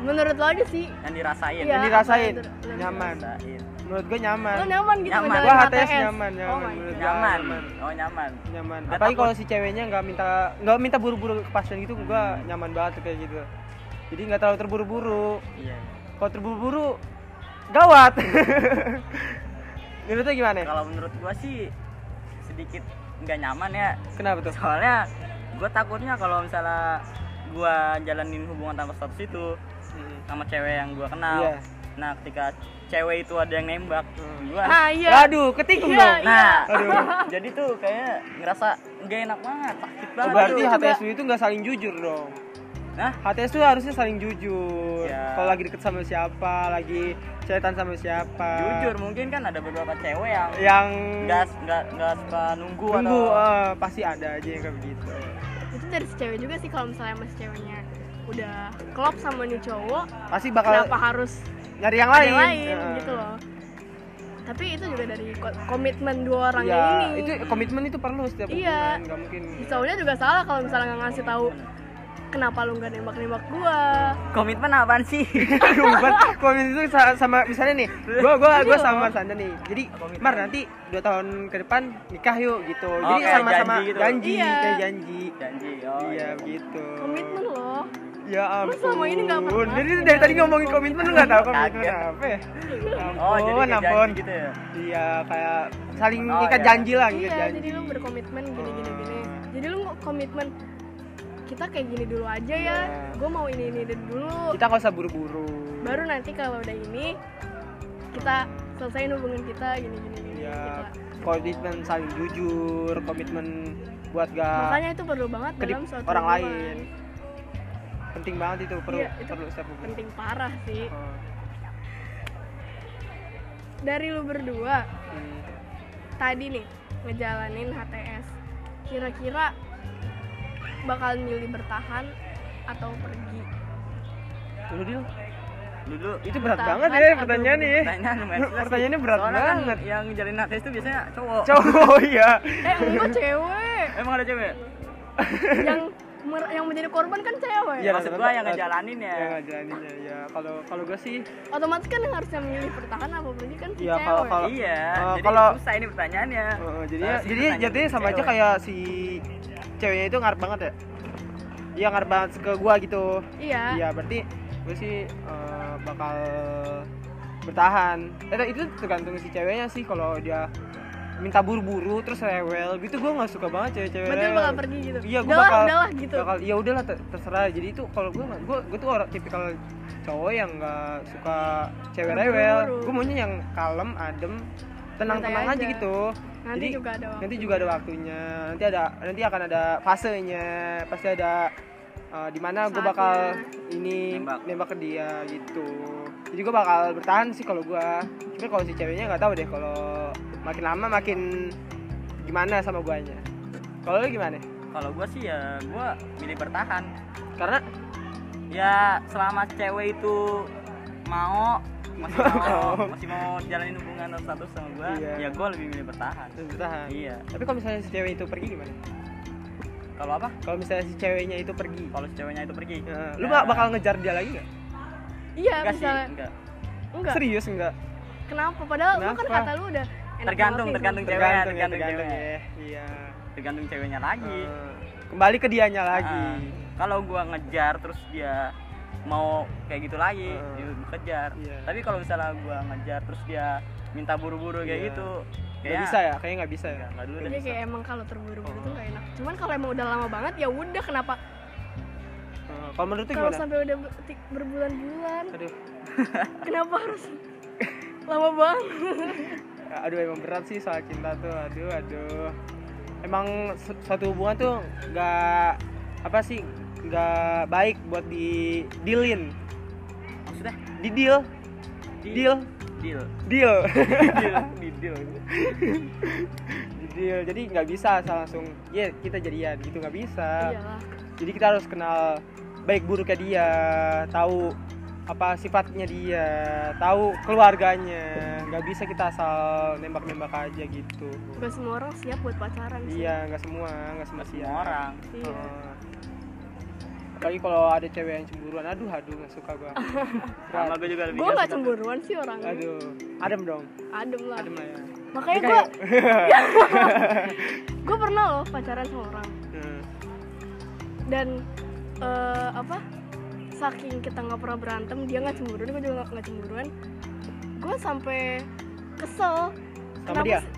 [SPEAKER 1] Menurut lo aja sih
[SPEAKER 2] Yang dirasain.
[SPEAKER 1] Iya.
[SPEAKER 3] yang
[SPEAKER 1] apa
[SPEAKER 3] dirasain
[SPEAKER 1] yang dir- yang
[SPEAKER 3] nyaman.
[SPEAKER 2] Dirasain.
[SPEAKER 3] Menurut gue nyaman.
[SPEAKER 1] lo nyaman gitu
[SPEAKER 2] Nyaman.
[SPEAKER 1] ngejalan
[SPEAKER 3] Gua HTS
[SPEAKER 1] Oh
[SPEAKER 3] nyaman, nyaman.
[SPEAKER 1] my
[SPEAKER 3] Menurut
[SPEAKER 1] God.
[SPEAKER 3] gua
[SPEAKER 2] Nyaman.
[SPEAKER 3] nyaman.
[SPEAKER 2] Oh nyaman.
[SPEAKER 3] nyaman.
[SPEAKER 2] Nggak
[SPEAKER 3] Apalagi
[SPEAKER 2] takut.
[SPEAKER 3] kalau si ceweknya nggak minta nggak minta buru-buru kepastian gitu, gue nyaman banget tuh kayak gitu. Jadi nggak terlalu terburu-buru.
[SPEAKER 2] Iya.
[SPEAKER 3] Kalau terburu-buru gawat. [laughs] Menurutnya gimana? ya?
[SPEAKER 2] Kalau menurut gue sih sedikit nggak nyaman ya
[SPEAKER 3] Kenapa tuh?
[SPEAKER 2] [laughs] soalnya gue takutnya kalau misalnya gue jalanin hubungan tanpa status itu sama cewek yang gue kenal
[SPEAKER 3] Iya.
[SPEAKER 2] nah ketika cewek itu ada yang nembak
[SPEAKER 3] Hmm.
[SPEAKER 2] gue
[SPEAKER 1] Nah, iya.
[SPEAKER 3] Aduh, ketikung
[SPEAKER 1] Iya,
[SPEAKER 3] dong.
[SPEAKER 2] [laughs] nah
[SPEAKER 3] Aduh.
[SPEAKER 2] [laughs] jadi tuh kayaknya ngerasa gak enak banget sakit banget
[SPEAKER 3] Berarti
[SPEAKER 2] tuh.
[SPEAKER 1] juga.
[SPEAKER 3] HTSU itu nggak saling jujur dong.
[SPEAKER 2] nah
[SPEAKER 3] HTSU harusnya saling jujur.
[SPEAKER 2] Iya.
[SPEAKER 3] Kalau lagi deket sama siapa, lagi cetan sama siapa.
[SPEAKER 2] jujur mungkin kan ada beberapa cewek yang
[SPEAKER 3] Yang
[SPEAKER 2] nggak nggak nggak suka nunggu,
[SPEAKER 3] tunggu
[SPEAKER 2] atau
[SPEAKER 3] eh, pasti ada aja yang kayak begitu.
[SPEAKER 1] Itu dari si cewek juga sih kalau misalnya mas ceweknya udah klop sama nih cowok,
[SPEAKER 3] Pasti bakal
[SPEAKER 1] kenapa harus
[SPEAKER 3] nyari yang
[SPEAKER 1] ada
[SPEAKER 3] lain.
[SPEAKER 1] yang lain
[SPEAKER 3] Heeh.
[SPEAKER 1] gitu loh. Tapi itu juga dari ko- komitmen dua orang
[SPEAKER 3] Iya,
[SPEAKER 1] ini.
[SPEAKER 3] itu komitmen itu perlu setiap
[SPEAKER 1] Iya.
[SPEAKER 3] hubungan, nggak mungkin.
[SPEAKER 1] Si
[SPEAKER 3] [laughs]
[SPEAKER 1] cowoknya juga salah kalau misalnya nggak ngasih tahu kenapa lu nggak nembak-nembak gua.
[SPEAKER 2] komitmen apaan
[SPEAKER 3] [laughs]
[SPEAKER 2] sih
[SPEAKER 3] Aduh, bukan. komitmen itu sa- sama misalnya nih, gua gua gua
[SPEAKER 1] Iya.
[SPEAKER 3] sama Sanda nih. Jadi,
[SPEAKER 2] Komitmen.
[SPEAKER 3] Mar nanti 2 tahun ke depan nikah yuk gitu. Jadi
[SPEAKER 2] kayak
[SPEAKER 3] sama-sama
[SPEAKER 2] janji gitu.
[SPEAKER 3] janji,
[SPEAKER 1] Iya.
[SPEAKER 3] kayak janji.
[SPEAKER 2] janji oh
[SPEAKER 3] iya,
[SPEAKER 2] iya.
[SPEAKER 3] begitu.
[SPEAKER 1] Komitmen loh.
[SPEAKER 3] Ya
[SPEAKER 1] Lu
[SPEAKER 3] ampun.
[SPEAKER 1] selama ini nggak pernah
[SPEAKER 3] Jadi dari tadi ngomongin komitmen lu enggak tahu
[SPEAKER 2] Kaget.
[SPEAKER 3] komitmen apa. ya?
[SPEAKER 2] oh
[SPEAKER 3] Ampun,
[SPEAKER 2] jadi kayak
[SPEAKER 3] ampun.
[SPEAKER 2] janji gitu ya
[SPEAKER 3] Iya, kayak saling
[SPEAKER 2] Oh,
[SPEAKER 3] ngikat
[SPEAKER 2] iya.
[SPEAKER 3] janji lah, ngikat
[SPEAKER 1] Iya,
[SPEAKER 3] janji.
[SPEAKER 1] jadi lu berkomitmen gini gini
[SPEAKER 3] Hmm.
[SPEAKER 1] gini. Jadi lu komitmen kita kayak gini dulu aja ya.
[SPEAKER 3] Iya.
[SPEAKER 1] Gua mau ini ini dulu.
[SPEAKER 3] Kita nggak usah buru-buru.
[SPEAKER 1] Baru nanti kalau udah ini kita selesaiin hubungan kita gini gini gini.
[SPEAKER 3] Iya.
[SPEAKER 1] gitu lah.
[SPEAKER 3] komitmen saling jujur, komitmen buat gak
[SPEAKER 1] Makanya itu perlu banget
[SPEAKER 3] kedip
[SPEAKER 1] dalam suatu
[SPEAKER 3] Ah, orang
[SPEAKER 1] hubungan.
[SPEAKER 3] lain. Penting banget itu perlu
[SPEAKER 1] Iya, itu
[SPEAKER 3] perlu setiap hubungan.
[SPEAKER 1] Penting parah sih.
[SPEAKER 3] Oh,
[SPEAKER 1] Dari lu berdua
[SPEAKER 3] hmm.
[SPEAKER 1] tadi nih ngejalanin HTS. Kira-kira bakal milih bertahan atau pergi?
[SPEAKER 3] Dulu iya. Dil,
[SPEAKER 2] dulu
[SPEAKER 3] itu berat
[SPEAKER 1] Bertahan
[SPEAKER 3] banget ya
[SPEAKER 1] atau
[SPEAKER 3] pertanyaan nih.
[SPEAKER 2] pertanyaan lumayan susah sih.
[SPEAKER 3] Pertanyaannya berat
[SPEAKER 2] Soalnya kan
[SPEAKER 3] banget.
[SPEAKER 2] yang ngejalanin HTS itu biasanya cowok
[SPEAKER 3] Cowok [laughs] iya.
[SPEAKER 1] Eh, enggak cewek.
[SPEAKER 2] emang ada cewek
[SPEAKER 1] yang mer- yang menjadi korban kan cewek.
[SPEAKER 2] Iya. maksud gua
[SPEAKER 3] rata-
[SPEAKER 2] yang ngejalanin ya.
[SPEAKER 3] Yang ngejalanin ya. ya. Kalau kalau gue sih
[SPEAKER 1] Otomatis kan yang harusnya milih bertahan apa pergi kan si
[SPEAKER 3] Iya,
[SPEAKER 1] cewek.
[SPEAKER 3] kalau- kalau-
[SPEAKER 2] iya
[SPEAKER 3] Eh,
[SPEAKER 2] jadi
[SPEAKER 3] kalau-
[SPEAKER 2] susah ini pertanyaannya
[SPEAKER 3] eh, jadinya
[SPEAKER 2] Harusnya
[SPEAKER 3] jadi
[SPEAKER 2] pertanyaan
[SPEAKER 3] jadinya
[SPEAKER 2] dari
[SPEAKER 3] sama aja
[SPEAKER 2] cewek.
[SPEAKER 3] kayak si ceweknya itu ngarep banget ya. Iya ngarep banget ke gua gitu.
[SPEAKER 1] Iya.
[SPEAKER 3] Iya, berarti gue sih eh, bakal bertahan. Eh, itu tergantung si ceweknya sih kalau dia minta buru-buru terus rewel gitu gue nggak suka banget cewek-cewek.
[SPEAKER 1] Berarti lu
[SPEAKER 3] rewel.
[SPEAKER 1] bakal pergi gitu.
[SPEAKER 3] Iya, gue
[SPEAKER 1] udahlah,
[SPEAKER 3] bakal
[SPEAKER 1] udahlah gitu.
[SPEAKER 3] bakal- ya udahlah ter- terserah. Jadi itu kalau gue gue gue tuh orang tipikal cowok yang nggak suka cewek
[SPEAKER 1] Buru-buru.
[SPEAKER 3] rewel. Gue maunya yang kalem, adem, tenang-tenang
[SPEAKER 1] Santai
[SPEAKER 3] aja.
[SPEAKER 1] aja.
[SPEAKER 3] gitu.
[SPEAKER 1] Nanti
[SPEAKER 3] Jadi,
[SPEAKER 1] juga ada waktu.
[SPEAKER 3] nanti juga ada waktunya nanti ada nanti akan ada fasenya pasti ada uh, di mana gue
[SPEAKER 1] Saatnya.
[SPEAKER 3] bakal ini
[SPEAKER 2] Nembak.
[SPEAKER 3] nembak ke dia gitu jadi gue bakal bertahan sih kalau gue tapi kalau si ceweknya nggak tahu deh kalau makin lama makin gimana sama guanya kalau lu gimana
[SPEAKER 2] kalau gua sih ya gua milih bertahan
[SPEAKER 3] karena
[SPEAKER 2] ya selama cewek itu mau masih
[SPEAKER 3] [laughs]
[SPEAKER 2] mau
[SPEAKER 3] Mau.
[SPEAKER 2] masih mau jalanin hubungan atau status sama gua
[SPEAKER 3] Oh. Iya.
[SPEAKER 2] ya gua lebih milih bertahan
[SPEAKER 3] lu bertahan
[SPEAKER 2] iya
[SPEAKER 3] tapi kalau misalnya si cewek itu pergi gimana
[SPEAKER 2] kalau kalau apa
[SPEAKER 3] kalau misalnya si ceweknya itu pergi
[SPEAKER 2] kalau si ceweknya itu pergi Nah,
[SPEAKER 3] Heeh. Iya. lu bak- bakal ngejar dia lagi nggak
[SPEAKER 1] iya
[SPEAKER 2] enggak sih
[SPEAKER 1] misalnya
[SPEAKER 2] enggak
[SPEAKER 1] enggak
[SPEAKER 3] serius nggak
[SPEAKER 1] kenapa padahal lu kan
[SPEAKER 3] Kenapa?
[SPEAKER 1] kata lu udah enak
[SPEAKER 2] Tergantung,
[SPEAKER 1] banget gitu. nih
[SPEAKER 2] tergantung.
[SPEAKER 1] sama-
[SPEAKER 2] Cewek,
[SPEAKER 3] tergantung ya
[SPEAKER 2] tergantung
[SPEAKER 3] tergantung
[SPEAKER 2] cewek.
[SPEAKER 3] ya iya
[SPEAKER 2] tergantung ceweknya lagi
[SPEAKER 3] Heeh. kembali ke dianya lagi
[SPEAKER 2] Ah, kalau gua ngejar terus dia mau kayak gitu lagi
[SPEAKER 3] Ah.
[SPEAKER 2] dia kejar
[SPEAKER 3] Iya.
[SPEAKER 2] tapi kalau misalnya gua ngejar terus dia minta buru-buru kayak
[SPEAKER 3] Iya.
[SPEAKER 2] gitu
[SPEAKER 3] nggak bisa ya kayaknya nggak bisa ya
[SPEAKER 2] Enggak, enggak dulu deh.
[SPEAKER 1] Jadi Iya, kayak emang kalau terburu-buru tuh gak enak. Cuman kalau emang udah lama banget ya udah kenapa
[SPEAKER 3] Heeh. Eh, kalau menurut lu
[SPEAKER 1] kalau
[SPEAKER 3] gimana
[SPEAKER 1] sampai udah ber- ti- berbulan-bulan
[SPEAKER 3] aduh
[SPEAKER 1] kenapa harus [laughs] lama banget?
[SPEAKER 3] aduh emang berat sih soal cinta tuh aduh aduh emang su- suatu hubungan tuh nggak apa sih nggak baik buat di dealin
[SPEAKER 2] maksudnya
[SPEAKER 3] di deal deal [laughs]
[SPEAKER 2] deal
[SPEAKER 3] deal
[SPEAKER 2] deal di deal
[SPEAKER 3] Di deal jadi nggak bisa asal langsung ya kita jadian gitu nggak bisa
[SPEAKER 1] Iyalah.
[SPEAKER 3] jadi kita harus kenal baik buruknya dia tahu apa sifatnya dia tahu keluarganya nggak bisa kita asal nembak-nembak aja gitu
[SPEAKER 1] Gak semua orang siap buat pacaran sih.
[SPEAKER 3] iya Oh. nggak semua nggak semua
[SPEAKER 2] semua
[SPEAKER 3] siap.
[SPEAKER 2] orang
[SPEAKER 1] Iya.
[SPEAKER 3] Apalagi kalau ada cewek yang cemburuan, aduh aduh nggak suka gua.
[SPEAKER 2] sama gua juga lebih
[SPEAKER 1] Gue
[SPEAKER 2] nggak
[SPEAKER 1] gak
[SPEAKER 2] suka.
[SPEAKER 1] cemburuan sih orangnya.
[SPEAKER 3] aduh, adem dong,
[SPEAKER 1] Adem lah.
[SPEAKER 3] adem lah ya.
[SPEAKER 1] Makanya
[SPEAKER 3] Ini
[SPEAKER 1] gue
[SPEAKER 3] [laughs] kayak-
[SPEAKER 1] gue pernah loh pacaran sama orang
[SPEAKER 3] Hmm.
[SPEAKER 1] dan eh, apa saking kita nggak pernah berantem dia nggak cemburuan gue juga nggak cemburuan gue sampai kesel
[SPEAKER 3] Sama dia?
[SPEAKER 1] sih-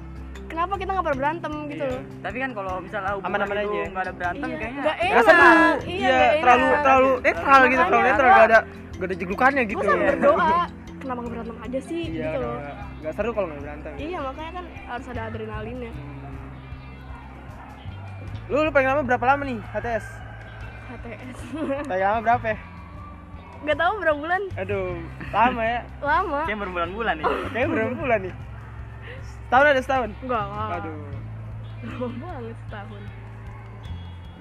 [SPEAKER 1] kenapa kita nggak pernah berantem gitu
[SPEAKER 3] Iya.
[SPEAKER 1] loh
[SPEAKER 2] tapi kan kalau misalnya hubungan
[SPEAKER 3] Aman-aman
[SPEAKER 2] itu
[SPEAKER 3] aja.
[SPEAKER 2] nggak ada berantem
[SPEAKER 1] Iya,
[SPEAKER 2] kayaknya
[SPEAKER 1] nggak
[SPEAKER 3] Nggak
[SPEAKER 1] enak
[SPEAKER 3] seru.
[SPEAKER 1] iya,
[SPEAKER 3] Iya,
[SPEAKER 1] nggak
[SPEAKER 3] terlalu
[SPEAKER 1] enak.
[SPEAKER 3] terlalu netral gitu,
[SPEAKER 1] Makanya
[SPEAKER 3] terlalu netral
[SPEAKER 1] gua-
[SPEAKER 3] gak ada gak ada jeglukannya gitu.
[SPEAKER 1] gue sampai
[SPEAKER 3] Iya.
[SPEAKER 1] berdoa kenapa nggak berantem aja sih
[SPEAKER 3] Iya,
[SPEAKER 1] gitu
[SPEAKER 3] udah
[SPEAKER 1] loh
[SPEAKER 3] nggak- nggak seru kalau nggak berantem.
[SPEAKER 1] iya makanya kan harus ada ya. adrenalinnya
[SPEAKER 3] Lu, lu paling lama berapa lama nih
[SPEAKER 1] [laughs]
[SPEAKER 3] HTS?
[SPEAKER 1] HTS
[SPEAKER 3] Paling lama berapa ya?
[SPEAKER 1] [laughs] nggak tahu berapa bulan
[SPEAKER 3] Aduh, lama ya.
[SPEAKER 1] lama
[SPEAKER 2] kayak berbulan-bulan nih
[SPEAKER 3] Kayaknya berapa bulan nih? Setahun ada setahun.
[SPEAKER 1] enggak lah
[SPEAKER 3] Aduh.
[SPEAKER 1] lama banget ya, setahun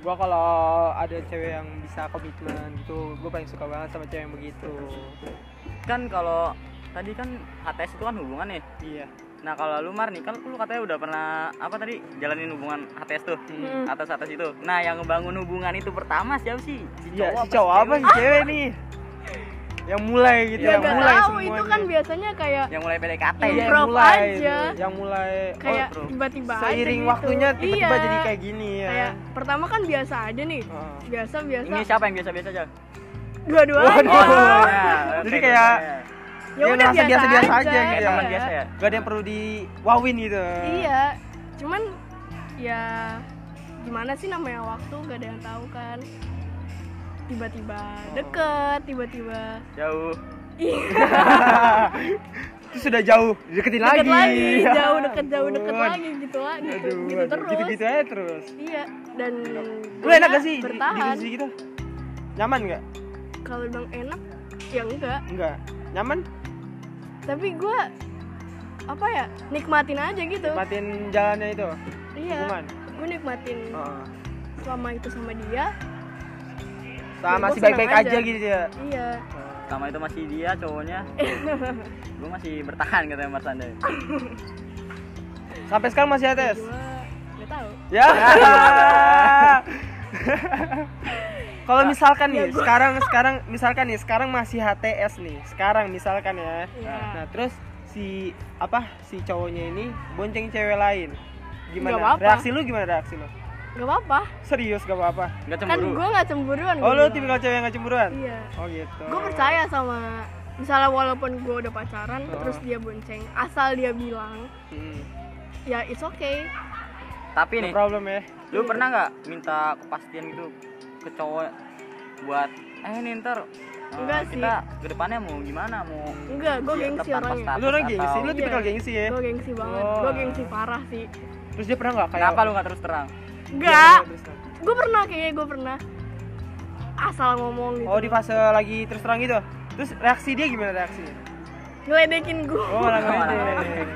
[SPEAKER 3] gua kalau ada cewek yang bisa komitmen gitu gue paling suka banget sama cewek yang begitu
[SPEAKER 2] kan kalau tadi kan HTS itu kan hubungan nih
[SPEAKER 3] iya
[SPEAKER 2] nah kalau lu Mar nih kan lu katanya udah pernah apa tadi jalanin hubungan HTS tuh
[SPEAKER 1] Mm.
[SPEAKER 2] atas atas itu nah yang ngebangun hubungan itu pertama siapa sih si
[SPEAKER 3] iya si
[SPEAKER 2] apa
[SPEAKER 3] cowok
[SPEAKER 2] si
[SPEAKER 3] apa
[SPEAKER 2] cewek?
[SPEAKER 3] si cewek nih yang mulai gitu
[SPEAKER 1] ya
[SPEAKER 3] yang
[SPEAKER 1] nggak
[SPEAKER 3] mulai
[SPEAKER 1] tahu
[SPEAKER 3] semuanya
[SPEAKER 1] itu kan biasanya kayak
[SPEAKER 2] yang mulai PDKT
[SPEAKER 3] Iya,
[SPEAKER 2] ya
[SPEAKER 1] Improv
[SPEAKER 3] yang mulai
[SPEAKER 1] aja.
[SPEAKER 3] itu, yang mulai oh,
[SPEAKER 1] kayak
[SPEAKER 2] bro.
[SPEAKER 1] tiba-tiba aja
[SPEAKER 3] seiring
[SPEAKER 1] gitu.
[SPEAKER 3] waktunya tiba-tiba
[SPEAKER 1] Iya.
[SPEAKER 3] jadi kayak gini ya Oh.
[SPEAKER 1] kayak pertama kan biasa aja nih
[SPEAKER 3] Heeh.
[SPEAKER 1] biasa biasa
[SPEAKER 2] ini siapa yang biasa-biasa
[SPEAKER 3] [laughs]
[SPEAKER 2] aja
[SPEAKER 1] dua-duanya
[SPEAKER 3] Waduh.
[SPEAKER 2] dua-duanya. Oke,
[SPEAKER 3] Oh, iya. Jadi kayak-
[SPEAKER 2] dua-duanya.
[SPEAKER 1] ya
[SPEAKER 3] Dia
[SPEAKER 1] udah
[SPEAKER 3] ngerasa
[SPEAKER 1] biasa,
[SPEAKER 3] biasa-biasa
[SPEAKER 1] aja,
[SPEAKER 3] aja,
[SPEAKER 2] kayak
[SPEAKER 3] Iya.
[SPEAKER 2] teman biasa ya
[SPEAKER 3] gak ada yang perlu diwawin gitu
[SPEAKER 1] iya cuman ya gimana sih namanya waktu gak ada yang tahu kan tiba-tiba
[SPEAKER 3] Oh.
[SPEAKER 1] deket tiba-tiba
[SPEAKER 2] jauh
[SPEAKER 1] Ih,
[SPEAKER 3] itu sudah jauh deketin
[SPEAKER 1] deket
[SPEAKER 3] lagi, [laughs] Ya
[SPEAKER 1] lagi jauh deket jauh deket
[SPEAKER 3] Ampun.
[SPEAKER 1] lagi gitu lah gitu,
[SPEAKER 3] Aduh,
[SPEAKER 1] gitu
[SPEAKER 3] aduh,
[SPEAKER 1] terus
[SPEAKER 3] gitu-gitu aja terus
[SPEAKER 1] iya dan
[SPEAKER 3] lu enak gak sih di-
[SPEAKER 1] bertahan
[SPEAKER 3] di gitu nyaman gak?
[SPEAKER 1] kalau bilang enak ya enggak
[SPEAKER 3] enggak nyaman
[SPEAKER 1] tapi gue apa ya nikmatin aja gitu
[SPEAKER 3] matiin jalannya itu
[SPEAKER 1] iya
[SPEAKER 3] hubungan Oh.
[SPEAKER 1] gue nikmatin
[SPEAKER 3] Heeh.
[SPEAKER 1] selama itu sama dia
[SPEAKER 3] sama
[SPEAKER 1] Iya, Gua
[SPEAKER 3] masih
[SPEAKER 1] seneng
[SPEAKER 3] baik-baik aja.
[SPEAKER 1] aja.
[SPEAKER 3] gitu ya
[SPEAKER 1] iya
[SPEAKER 2] sama itu masih dia
[SPEAKER 1] [laughs]
[SPEAKER 2] cowoknya gue masih bertahan katanya Mas Sanda
[SPEAKER 3] sampai sekarang masih atas
[SPEAKER 1] gue nggak tahu [laughs]
[SPEAKER 3] ya kalau
[SPEAKER 1] Nah,
[SPEAKER 3] misalkan
[SPEAKER 1] ya
[SPEAKER 3] nih sekarang sekarang misalkan nih sekarang masih HTS nih sekarang misalkan ya
[SPEAKER 1] Iya.
[SPEAKER 3] nah terus si apa si cowoknya ini bonceng cewek lain gimana
[SPEAKER 1] Nggak apa-apa.
[SPEAKER 3] reaksi lu gimana reaksi lu
[SPEAKER 1] nggak apa-apa
[SPEAKER 3] serius gak apa-apa
[SPEAKER 2] nggak
[SPEAKER 1] kan
[SPEAKER 2] cemburu
[SPEAKER 1] gue nggak cemburuan
[SPEAKER 3] oh
[SPEAKER 1] gua
[SPEAKER 3] lu
[SPEAKER 1] bilang.
[SPEAKER 3] tipikal cewek yang gak cemburuan
[SPEAKER 1] iya
[SPEAKER 3] oh gitu
[SPEAKER 1] gue percaya sama misalnya walaupun gue udah pacaran
[SPEAKER 3] Oh.
[SPEAKER 1] terus dia bonceng asal dia bilang
[SPEAKER 3] hmm.
[SPEAKER 1] ya it's okay
[SPEAKER 2] tapi
[SPEAKER 3] no
[SPEAKER 2] nih
[SPEAKER 3] problem ya
[SPEAKER 2] lu pernah nggak minta kepastian gitu ke cowok buat eh nih ntar eh,
[SPEAKER 1] Enggak sih.
[SPEAKER 2] kita kedepannya mau gimana mau
[SPEAKER 1] enggak gue
[SPEAKER 2] Iya,
[SPEAKER 1] gengsi
[SPEAKER 2] tetap
[SPEAKER 1] orangnya
[SPEAKER 2] Takut
[SPEAKER 3] lu orang
[SPEAKER 2] atau-
[SPEAKER 3] gengsi lu tipikal
[SPEAKER 1] Iya.
[SPEAKER 3] gengsi ya
[SPEAKER 1] gue gengsi banget
[SPEAKER 3] Oh. Iya,
[SPEAKER 1] gue gengsi parah sih
[SPEAKER 3] terus dia pernah nggak kayak
[SPEAKER 2] kenapa lu nggak terus terang
[SPEAKER 1] enggak
[SPEAKER 3] iya.
[SPEAKER 1] gue pernah kayaknya gue pernah asal ngomong gitu
[SPEAKER 3] oh di fase lagi terus terang gitu terus reaksi dia gimana reaksinya
[SPEAKER 1] ngeledekin gue
[SPEAKER 3] oh malah
[SPEAKER 2] Malah
[SPEAKER 3] ngeledek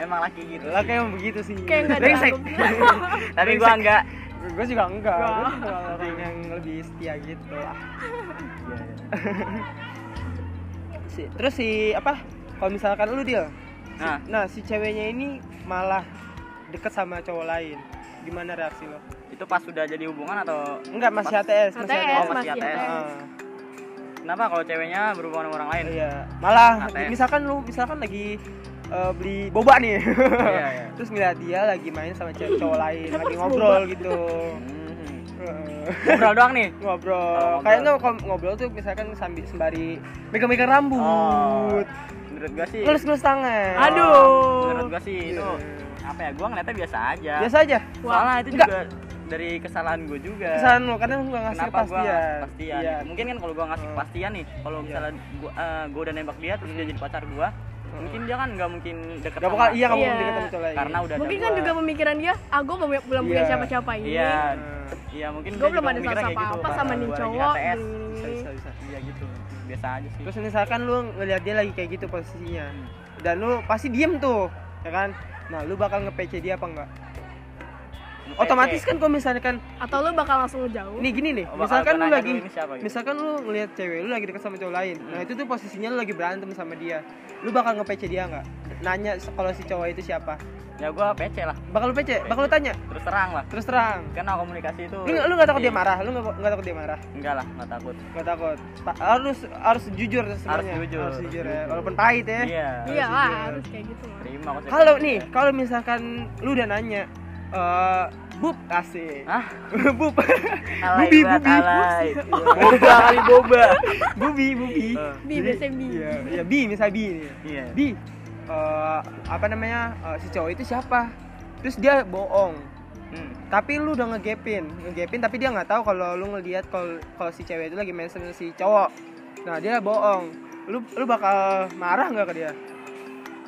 [SPEAKER 2] emang laki gitu
[SPEAKER 3] lah kayak emang begitu sih
[SPEAKER 1] [laughs] kayak nggak ada
[SPEAKER 3] [laughs] brengsek
[SPEAKER 1] anggap.
[SPEAKER 2] tapi gua enggak
[SPEAKER 3] gue juga enggak gue
[SPEAKER 1] Enggak.
[SPEAKER 3] juga orang yang lebih setia gitu lah Si- terus si apa kalau misalkan lu deal
[SPEAKER 2] nah
[SPEAKER 3] nah si ceweknya ini malah deket sama cowok lain gimana reaksi lo
[SPEAKER 2] itu itu pas sudah jadi hubungan atau
[SPEAKER 3] Enggak, masih
[SPEAKER 2] Mas-
[SPEAKER 3] HTS,
[SPEAKER 1] HTS,
[SPEAKER 2] Oh, masih
[SPEAKER 1] masih
[SPEAKER 2] HTS.
[SPEAKER 1] HTS.
[SPEAKER 3] Ah.
[SPEAKER 2] kenapa kalau ceweknya berhubungan sama orang lain
[SPEAKER 3] Iya, malah
[SPEAKER 2] ATM.
[SPEAKER 3] misalkan lu misalkan lagi eh, beli boba nih.
[SPEAKER 2] iya iya
[SPEAKER 3] [laughs] Terus ngeliat dia lagi main sama cewek cowok lain, lagi ngobrol gitu.
[SPEAKER 2] Hmm.
[SPEAKER 3] Heeh.
[SPEAKER 2] ngobrol doang nih
[SPEAKER 3] ngobrol.
[SPEAKER 2] Oh, ngobrol.
[SPEAKER 3] Kayaknya kalau ngobrol tuh misalkan sambil sembari megang-megang rambut,
[SPEAKER 2] Ah. menurut gua sih
[SPEAKER 3] ngelus-ngelus tangan. Gitu.
[SPEAKER 2] menurut
[SPEAKER 1] Aduh.
[SPEAKER 2] gua sih itu apa ya gua ngeliatnya biasa aja
[SPEAKER 3] Iya. Biasa aja.
[SPEAKER 2] soalnya itu
[SPEAKER 3] Enggak.
[SPEAKER 2] juga dari kesalahan gua juga
[SPEAKER 3] Kesan lu karena lu nggak ngasih
[SPEAKER 2] kenapa gua
[SPEAKER 3] kepastian.
[SPEAKER 2] ngasih kepastian
[SPEAKER 3] Iya.
[SPEAKER 2] mungkin kan kalau gua ngasih
[SPEAKER 3] Hmm.
[SPEAKER 2] kepastian nih kalau
[SPEAKER 3] Iya.
[SPEAKER 2] misalnya gua, eh, gua udah nembak dia terus dia jadi pacar gua
[SPEAKER 3] Hmm.
[SPEAKER 2] mungkin dia kan nggak mungkin deket
[SPEAKER 3] Gak bakal iya kamu
[SPEAKER 1] Iya.
[SPEAKER 3] mending ketemu cowok lain.
[SPEAKER 2] karena udah
[SPEAKER 1] Mungkin
[SPEAKER 2] ada
[SPEAKER 1] kan
[SPEAKER 2] gua.
[SPEAKER 1] juga pemikiran dia, ah gue belum belum punya
[SPEAKER 3] Iya.
[SPEAKER 1] siapa-siapa ini.
[SPEAKER 2] iya
[SPEAKER 3] Hmm.
[SPEAKER 2] iya mungkin
[SPEAKER 1] Gue
[SPEAKER 2] dia
[SPEAKER 1] belum
[SPEAKER 2] juga
[SPEAKER 1] ada
[SPEAKER 2] mikirnya
[SPEAKER 1] salah
[SPEAKER 2] kayak gitu,
[SPEAKER 1] apa-apa
[SPEAKER 2] bakal
[SPEAKER 1] sama nih
[SPEAKER 2] gua lagi
[SPEAKER 1] cowok.
[SPEAKER 2] HTS.
[SPEAKER 3] Bisa, bisa, bisa.
[SPEAKER 2] iya gitu biasa aja sih
[SPEAKER 3] Hmm. Terus misalkan lu ngeliat dia lagi kayak gitu posisinya
[SPEAKER 2] Hmm.
[SPEAKER 3] Dan lu pasti diem tuh Ya kan Nah lu bakal nge-PC dia apa enggak?
[SPEAKER 2] Nge-PC.
[SPEAKER 3] Otomatis kan kalau misalkan
[SPEAKER 1] Atau lu bakal langsung jauh.
[SPEAKER 3] Nih gini nih
[SPEAKER 2] Oh, bakal
[SPEAKER 3] Misalkan
[SPEAKER 2] gua
[SPEAKER 3] lu
[SPEAKER 2] nanya
[SPEAKER 3] lagi
[SPEAKER 2] dulu ini siapa gitu.
[SPEAKER 3] Misalkan lu ngeliat cewek lu lagi deket sama cowok lain Nah itu tuh posisinya lu lagi berantem sama dia Lu bakal nge-PC dia enggak? Nanya se- kalau si cowok itu siapa?
[SPEAKER 2] ya gua PC lah
[SPEAKER 3] Bakal lu PC? Bakal lu tanya?
[SPEAKER 2] terus terang lah
[SPEAKER 3] Terus terang
[SPEAKER 2] karena komunikasi itu
[SPEAKER 3] Lu, lu gak takut dia
[SPEAKER 2] penting.
[SPEAKER 3] marah? Lu gak, gak takut dia marah?
[SPEAKER 2] enggak lah nggak takut
[SPEAKER 3] Gak takut Ta- Harus harus jujur semuanya Harus
[SPEAKER 2] jujur,
[SPEAKER 3] jujur
[SPEAKER 2] harus
[SPEAKER 3] ya
[SPEAKER 2] jujur.
[SPEAKER 3] Walaupun pahit ya
[SPEAKER 2] iya
[SPEAKER 1] iya
[SPEAKER 3] harus
[SPEAKER 1] lah,
[SPEAKER 3] jujur.
[SPEAKER 1] harus kayak gitu. mah.
[SPEAKER 2] terima kok saya.
[SPEAKER 3] Kalau nih, kalau misalkan lu udah nanya, eh bub asik.
[SPEAKER 2] Hah?
[SPEAKER 3] [laughs] bub. [laughs]
[SPEAKER 2] Alay
[SPEAKER 3] Bubi,
[SPEAKER 2] banget,
[SPEAKER 3] bubi. [laughs]
[SPEAKER 2] alay. Iya. Boba kali boba.
[SPEAKER 3] bubi, bubi.
[SPEAKER 2] Eh.
[SPEAKER 1] Bi,
[SPEAKER 3] Jadi,
[SPEAKER 1] biasanya bi.
[SPEAKER 3] Iya, iya bi, misalnya bi nih.
[SPEAKER 2] Iya.
[SPEAKER 3] Bi. eh, apa namanya? eh, si cowok itu siapa? Terus dia bohong.
[SPEAKER 2] Hmm.
[SPEAKER 3] Tapi lu udah ngegepin, ngegepin tapi dia nggak tahu kalau lu ngelihat kalau kalau si cewek itu lagi main sama si cowok. Nah, dia bohong. Lu lu bakal marah nggak ke dia?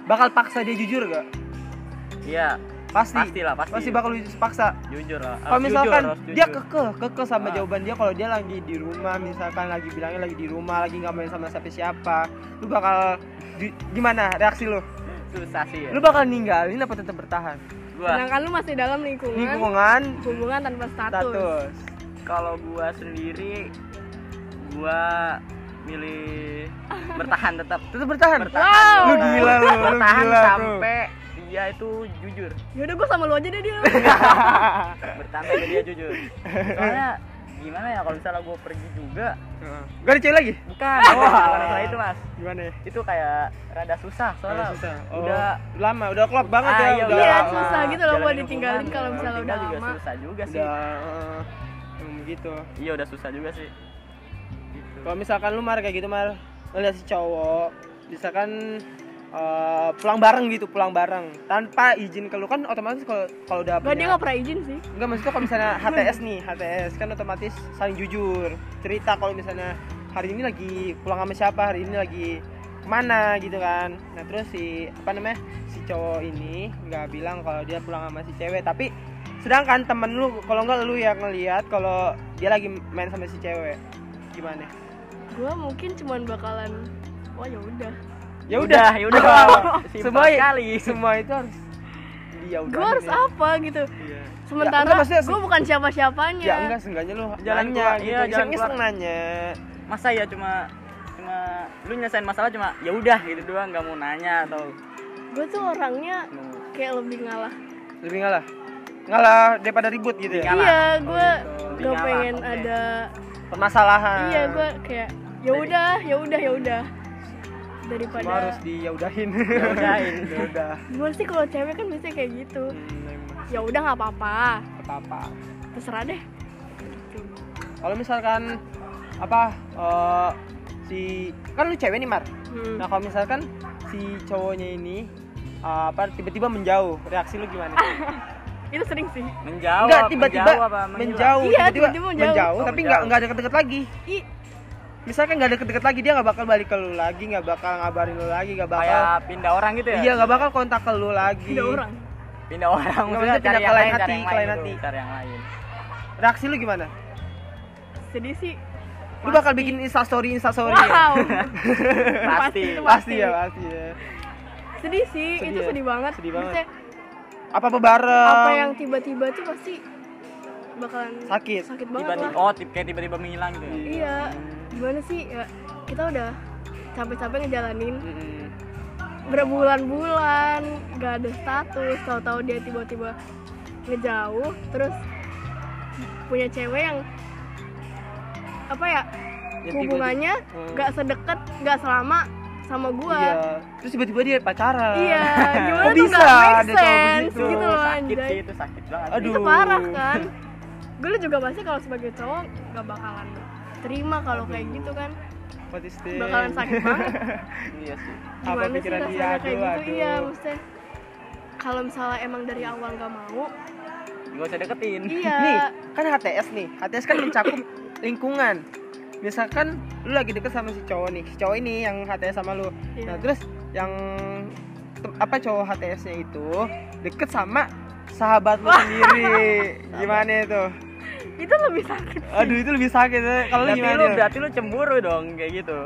[SPEAKER 3] Bakal paksa dia jujur gak?
[SPEAKER 2] Iya,
[SPEAKER 3] Pasti.
[SPEAKER 2] pastilah, pasti.
[SPEAKER 3] Pasti bakal lu paksa.
[SPEAKER 2] jujur lah. Harus
[SPEAKER 3] kalau misalkan
[SPEAKER 2] jujur, harus
[SPEAKER 3] dia
[SPEAKER 2] jujur.
[SPEAKER 3] kekeh kekeh sama
[SPEAKER 2] Ah.
[SPEAKER 3] jawaban dia kalau dia lagi di rumah misalkan lagi bilangnya lagi di rumah lagi nggak main sama siapa siapa lu bakal di- gimana reaksi lu
[SPEAKER 2] susah sih ya.
[SPEAKER 3] lu bakal ninggalin apa tetap bertahan
[SPEAKER 2] Gua
[SPEAKER 1] Sedangkan lu masih dalam lingkungan,
[SPEAKER 3] lingkungan
[SPEAKER 1] hubungan tanpa status.
[SPEAKER 3] status
[SPEAKER 2] kalau gua sendiri gua milih bertahan tetap.
[SPEAKER 3] tetap bertahan
[SPEAKER 2] Bertahan.
[SPEAKER 3] lu gila lu lu
[SPEAKER 2] Bertahan
[SPEAKER 3] gila bro.
[SPEAKER 2] sampai dia itu jujur.
[SPEAKER 1] Yaudah gue sama lu aja deh dia.
[SPEAKER 2] Bertahan sampai dia jujur. Soalnya gimana ya kalau misalnya gua pergi juga
[SPEAKER 3] Heeh. [laughs] gak ada cewek lagi
[SPEAKER 2] bukan
[SPEAKER 3] Wah.
[SPEAKER 2] bukan masalah itu mas
[SPEAKER 3] gimana ya
[SPEAKER 2] itu kayak rada susah soalnya
[SPEAKER 3] Udah susah. Oh,
[SPEAKER 2] udah
[SPEAKER 3] lama udah klop banget
[SPEAKER 2] Ah,
[SPEAKER 3] ya
[SPEAKER 2] iya,
[SPEAKER 3] udah
[SPEAKER 1] iya,
[SPEAKER 3] lama.
[SPEAKER 1] susah gitu loh
[SPEAKER 2] Jalanin
[SPEAKER 1] buat ditinggalin
[SPEAKER 2] hubungan,
[SPEAKER 1] kalau misalnya
[SPEAKER 2] ditinggal
[SPEAKER 1] udah
[SPEAKER 2] juga
[SPEAKER 1] lama.
[SPEAKER 2] susah juga sih
[SPEAKER 3] udah eh, emang begitu
[SPEAKER 2] iya udah susah juga sih gitu.
[SPEAKER 3] Kalau misalkan lu mar kayak gitu mar ngeliat si cowok, misalkan eh, pulang bareng gitu, pulang bareng tanpa izin ke lu kan otomatis kalau kalau udah
[SPEAKER 1] Gak dia
[SPEAKER 3] punya
[SPEAKER 1] gak pernah izin sih.
[SPEAKER 3] Enggak maksudnya kalau misalnya HTS nih, HTS kan otomatis saling jujur cerita kalau misalnya hari ini lagi pulang sama siapa, hari ini lagi kemana gitu kan. Nah terus si apa namanya si cowok ini nggak bilang kalau dia pulang sama si cewek, tapi sedangkan temen lu kalau nggak lu yang ngeliat kalau dia lagi main sama si cewek gimana?
[SPEAKER 1] Gue mungkin cuman bakalan Wah ya udah.
[SPEAKER 3] ya [laughs] udah
[SPEAKER 2] ya udah Simpel
[SPEAKER 3] semua ya-
[SPEAKER 2] sekali
[SPEAKER 3] semua itu harus ya udah
[SPEAKER 1] Gue harus
[SPEAKER 3] gitu
[SPEAKER 1] apa gitu.
[SPEAKER 3] Iya. Ya, enggak,
[SPEAKER 1] Sementara
[SPEAKER 3] maksudnya-
[SPEAKER 1] gue bukan siapa-siapanya.
[SPEAKER 3] ya enggak seenggaknya lu
[SPEAKER 2] Jalan
[SPEAKER 3] nanya
[SPEAKER 2] keluar,
[SPEAKER 3] gitu
[SPEAKER 2] iya,
[SPEAKER 3] iya,
[SPEAKER 2] jalan
[SPEAKER 3] iseng iseng nanya
[SPEAKER 2] masa ya cuma cuma lu nyelesain masalah cuma ya udah gitu doang nggak mau nanya atau
[SPEAKER 1] Gue tuh orangnya kayak lebih ngalah.
[SPEAKER 3] lebih ngalah ngalah daripada ribut gitu ya
[SPEAKER 2] Ngalah.
[SPEAKER 1] Iya, gue
[SPEAKER 2] Lebih
[SPEAKER 1] gak
[SPEAKER 2] ngalah,
[SPEAKER 1] pengen
[SPEAKER 2] oke.
[SPEAKER 1] ada.
[SPEAKER 3] permasalahan
[SPEAKER 1] Iya, gue kayak ya udah, ya udah, ya udah. Daripada
[SPEAKER 3] Semua harus diyaudahin [laughs]
[SPEAKER 2] Yaudahin.
[SPEAKER 3] Ya udah
[SPEAKER 1] gimana sih kalau cewek kan biasanya kayak gitu.
[SPEAKER 3] Hmm, emang.
[SPEAKER 1] Ya udah nggak apa-apa,
[SPEAKER 3] apa apa
[SPEAKER 1] terserah deh.
[SPEAKER 3] kalau misalkan apa eh, si kan lu cewek nih mar
[SPEAKER 1] Hmm.
[SPEAKER 3] nah kalau misalkan si cowoknya ini eh, apa tiba-tiba menjauh reaksi lu gimana
[SPEAKER 1] Itu sering sih.
[SPEAKER 2] menjawab
[SPEAKER 3] Enggak tiba-tiba
[SPEAKER 2] menjauh apa menghilang?
[SPEAKER 3] menjauh,
[SPEAKER 1] Iya,
[SPEAKER 3] tiba-tiba
[SPEAKER 1] tiba-tiba
[SPEAKER 3] menjauh,
[SPEAKER 1] menjauh.
[SPEAKER 2] Oh,
[SPEAKER 3] tapi
[SPEAKER 2] menjauh.
[SPEAKER 3] nggak nggak deket-deket lagi.
[SPEAKER 1] Ih,
[SPEAKER 3] Misalkan nggak deket-deket lagi dia nggak bakal balik ke lu lagi, nggak bakal ngabarin lu lagi, nggak bakal
[SPEAKER 2] kayak pindah orang gitu ya
[SPEAKER 3] iya nggak bakal kontak ke lu lagi.
[SPEAKER 1] ada orang.
[SPEAKER 2] pindah orang
[SPEAKER 3] Nggak,
[SPEAKER 2] maksudnya
[SPEAKER 3] maksudnya
[SPEAKER 2] cari
[SPEAKER 3] pindah
[SPEAKER 2] yang
[SPEAKER 3] ke
[SPEAKER 2] lain
[SPEAKER 3] lain
[SPEAKER 2] cari
[SPEAKER 3] hati,
[SPEAKER 2] yang
[SPEAKER 3] ke
[SPEAKER 2] lain
[SPEAKER 3] lain
[SPEAKER 2] gitu,
[SPEAKER 3] hati.
[SPEAKER 2] cari yang
[SPEAKER 3] [laughs]
[SPEAKER 2] lain
[SPEAKER 3] Reaksi lu gimana?
[SPEAKER 1] Sedih sih.
[SPEAKER 3] Lu bakal bikin instastory instastory. ya?
[SPEAKER 1] Wow.
[SPEAKER 2] pasti
[SPEAKER 1] itu
[SPEAKER 3] Pasti ya pasti ya.
[SPEAKER 1] [laughs] sedih sih,
[SPEAKER 3] Sedih
[SPEAKER 1] itu
[SPEAKER 3] ya?
[SPEAKER 1] sedih banget.
[SPEAKER 3] Sedih banget.
[SPEAKER 1] Maksudnya,
[SPEAKER 3] Apa apa bareng?
[SPEAKER 1] apa yang tiba-tiba tuh pasti bakalan
[SPEAKER 3] Sakit.
[SPEAKER 1] sakit banget
[SPEAKER 2] tiba-tiba
[SPEAKER 1] lah.
[SPEAKER 2] oh tip- kayak tiba-tiba menghilang gitu ya.
[SPEAKER 1] Iya. Gimana sih? Ya, kita udah capek-capek ngejalanin
[SPEAKER 3] Mm-mm.
[SPEAKER 1] berbulan-bulan gak ada status tahu-tahu dia tiba-tiba ngejauh terus punya cewek yang apa ya
[SPEAKER 3] Yang tiba-tiba-
[SPEAKER 1] hubungannya
[SPEAKER 3] Hmm.
[SPEAKER 1] nggak sedekat nggak selama sama gua
[SPEAKER 3] Iya. Terus tiba-tiba dia pacaran. [laughs]
[SPEAKER 1] Iya, gimana
[SPEAKER 3] Kok
[SPEAKER 1] tuh
[SPEAKER 3] bisa
[SPEAKER 1] nggak make
[SPEAKER 3] ada cowok
[SPEAKER 1] sense
[SPEAKER 3] begitu?
[SPEAKER 1] gitu loh
[SPEAKER 2] sakit
[SPEAKER 1] anjay.
[SPEAKER 2] sih itu sakit banget sih.
[SPEAKER 3] Aduh.
[SPEAKER 1] itu parah kan gue juga pasti kalau sebagai cowok nggak bakalan terima kalau kayak gitu kan
[SPEAKER 3] What is this?
[SPEAKER 1] bakalan sakit banget
[SPEAKER 2] iya sih
[SPEAKER 3] Iya. [laughs] Apa
[SPEAKER 1] gimana sih
[SPEAKER 3] pikiran dia?
[SPEAKER 1] rasanya kayak
[SPEAKER 3] Aduh,
[SPEAKER 1] gitu
[SPEAKER 3] aduh.
[SPEAKER 1] iya maksudnya kalau misalnya emang dari awal nggak
[SPEAKER 3] [laughs]
[SPEAKER 1] mau
[SPEAKER 2] gak usah deketin
[SPEAKER 1] iya
[SPEAKER 3] Nih, kan HTS nih. HTS kan mencakup lingkungan. Misalkan lu lagi deket sama si cowok nih, si cowok ini yang HTS sama lu.
[SPEAKER 1] Iya.
[SPEAKER 3] Nah, terus yang tem- apa cowok HTS-nya itu deket sama sahabat lu
[SPEAKER 2] [laughs]
[SPEAKER 3] sendiri. gimana itu?
[SPEAKER 1] itu lebih sakit
[SPEAKER 3] Aduh, itu lebih sakit. eh. Kalau lu
[SPEAKER 2] berarti
[SPEAKER 3] gimana?
[SPEAKER 2] lu
[SPEAKER 3] Dil?
[SPEAKER 2] berarti lu cemburu dong kayak gitu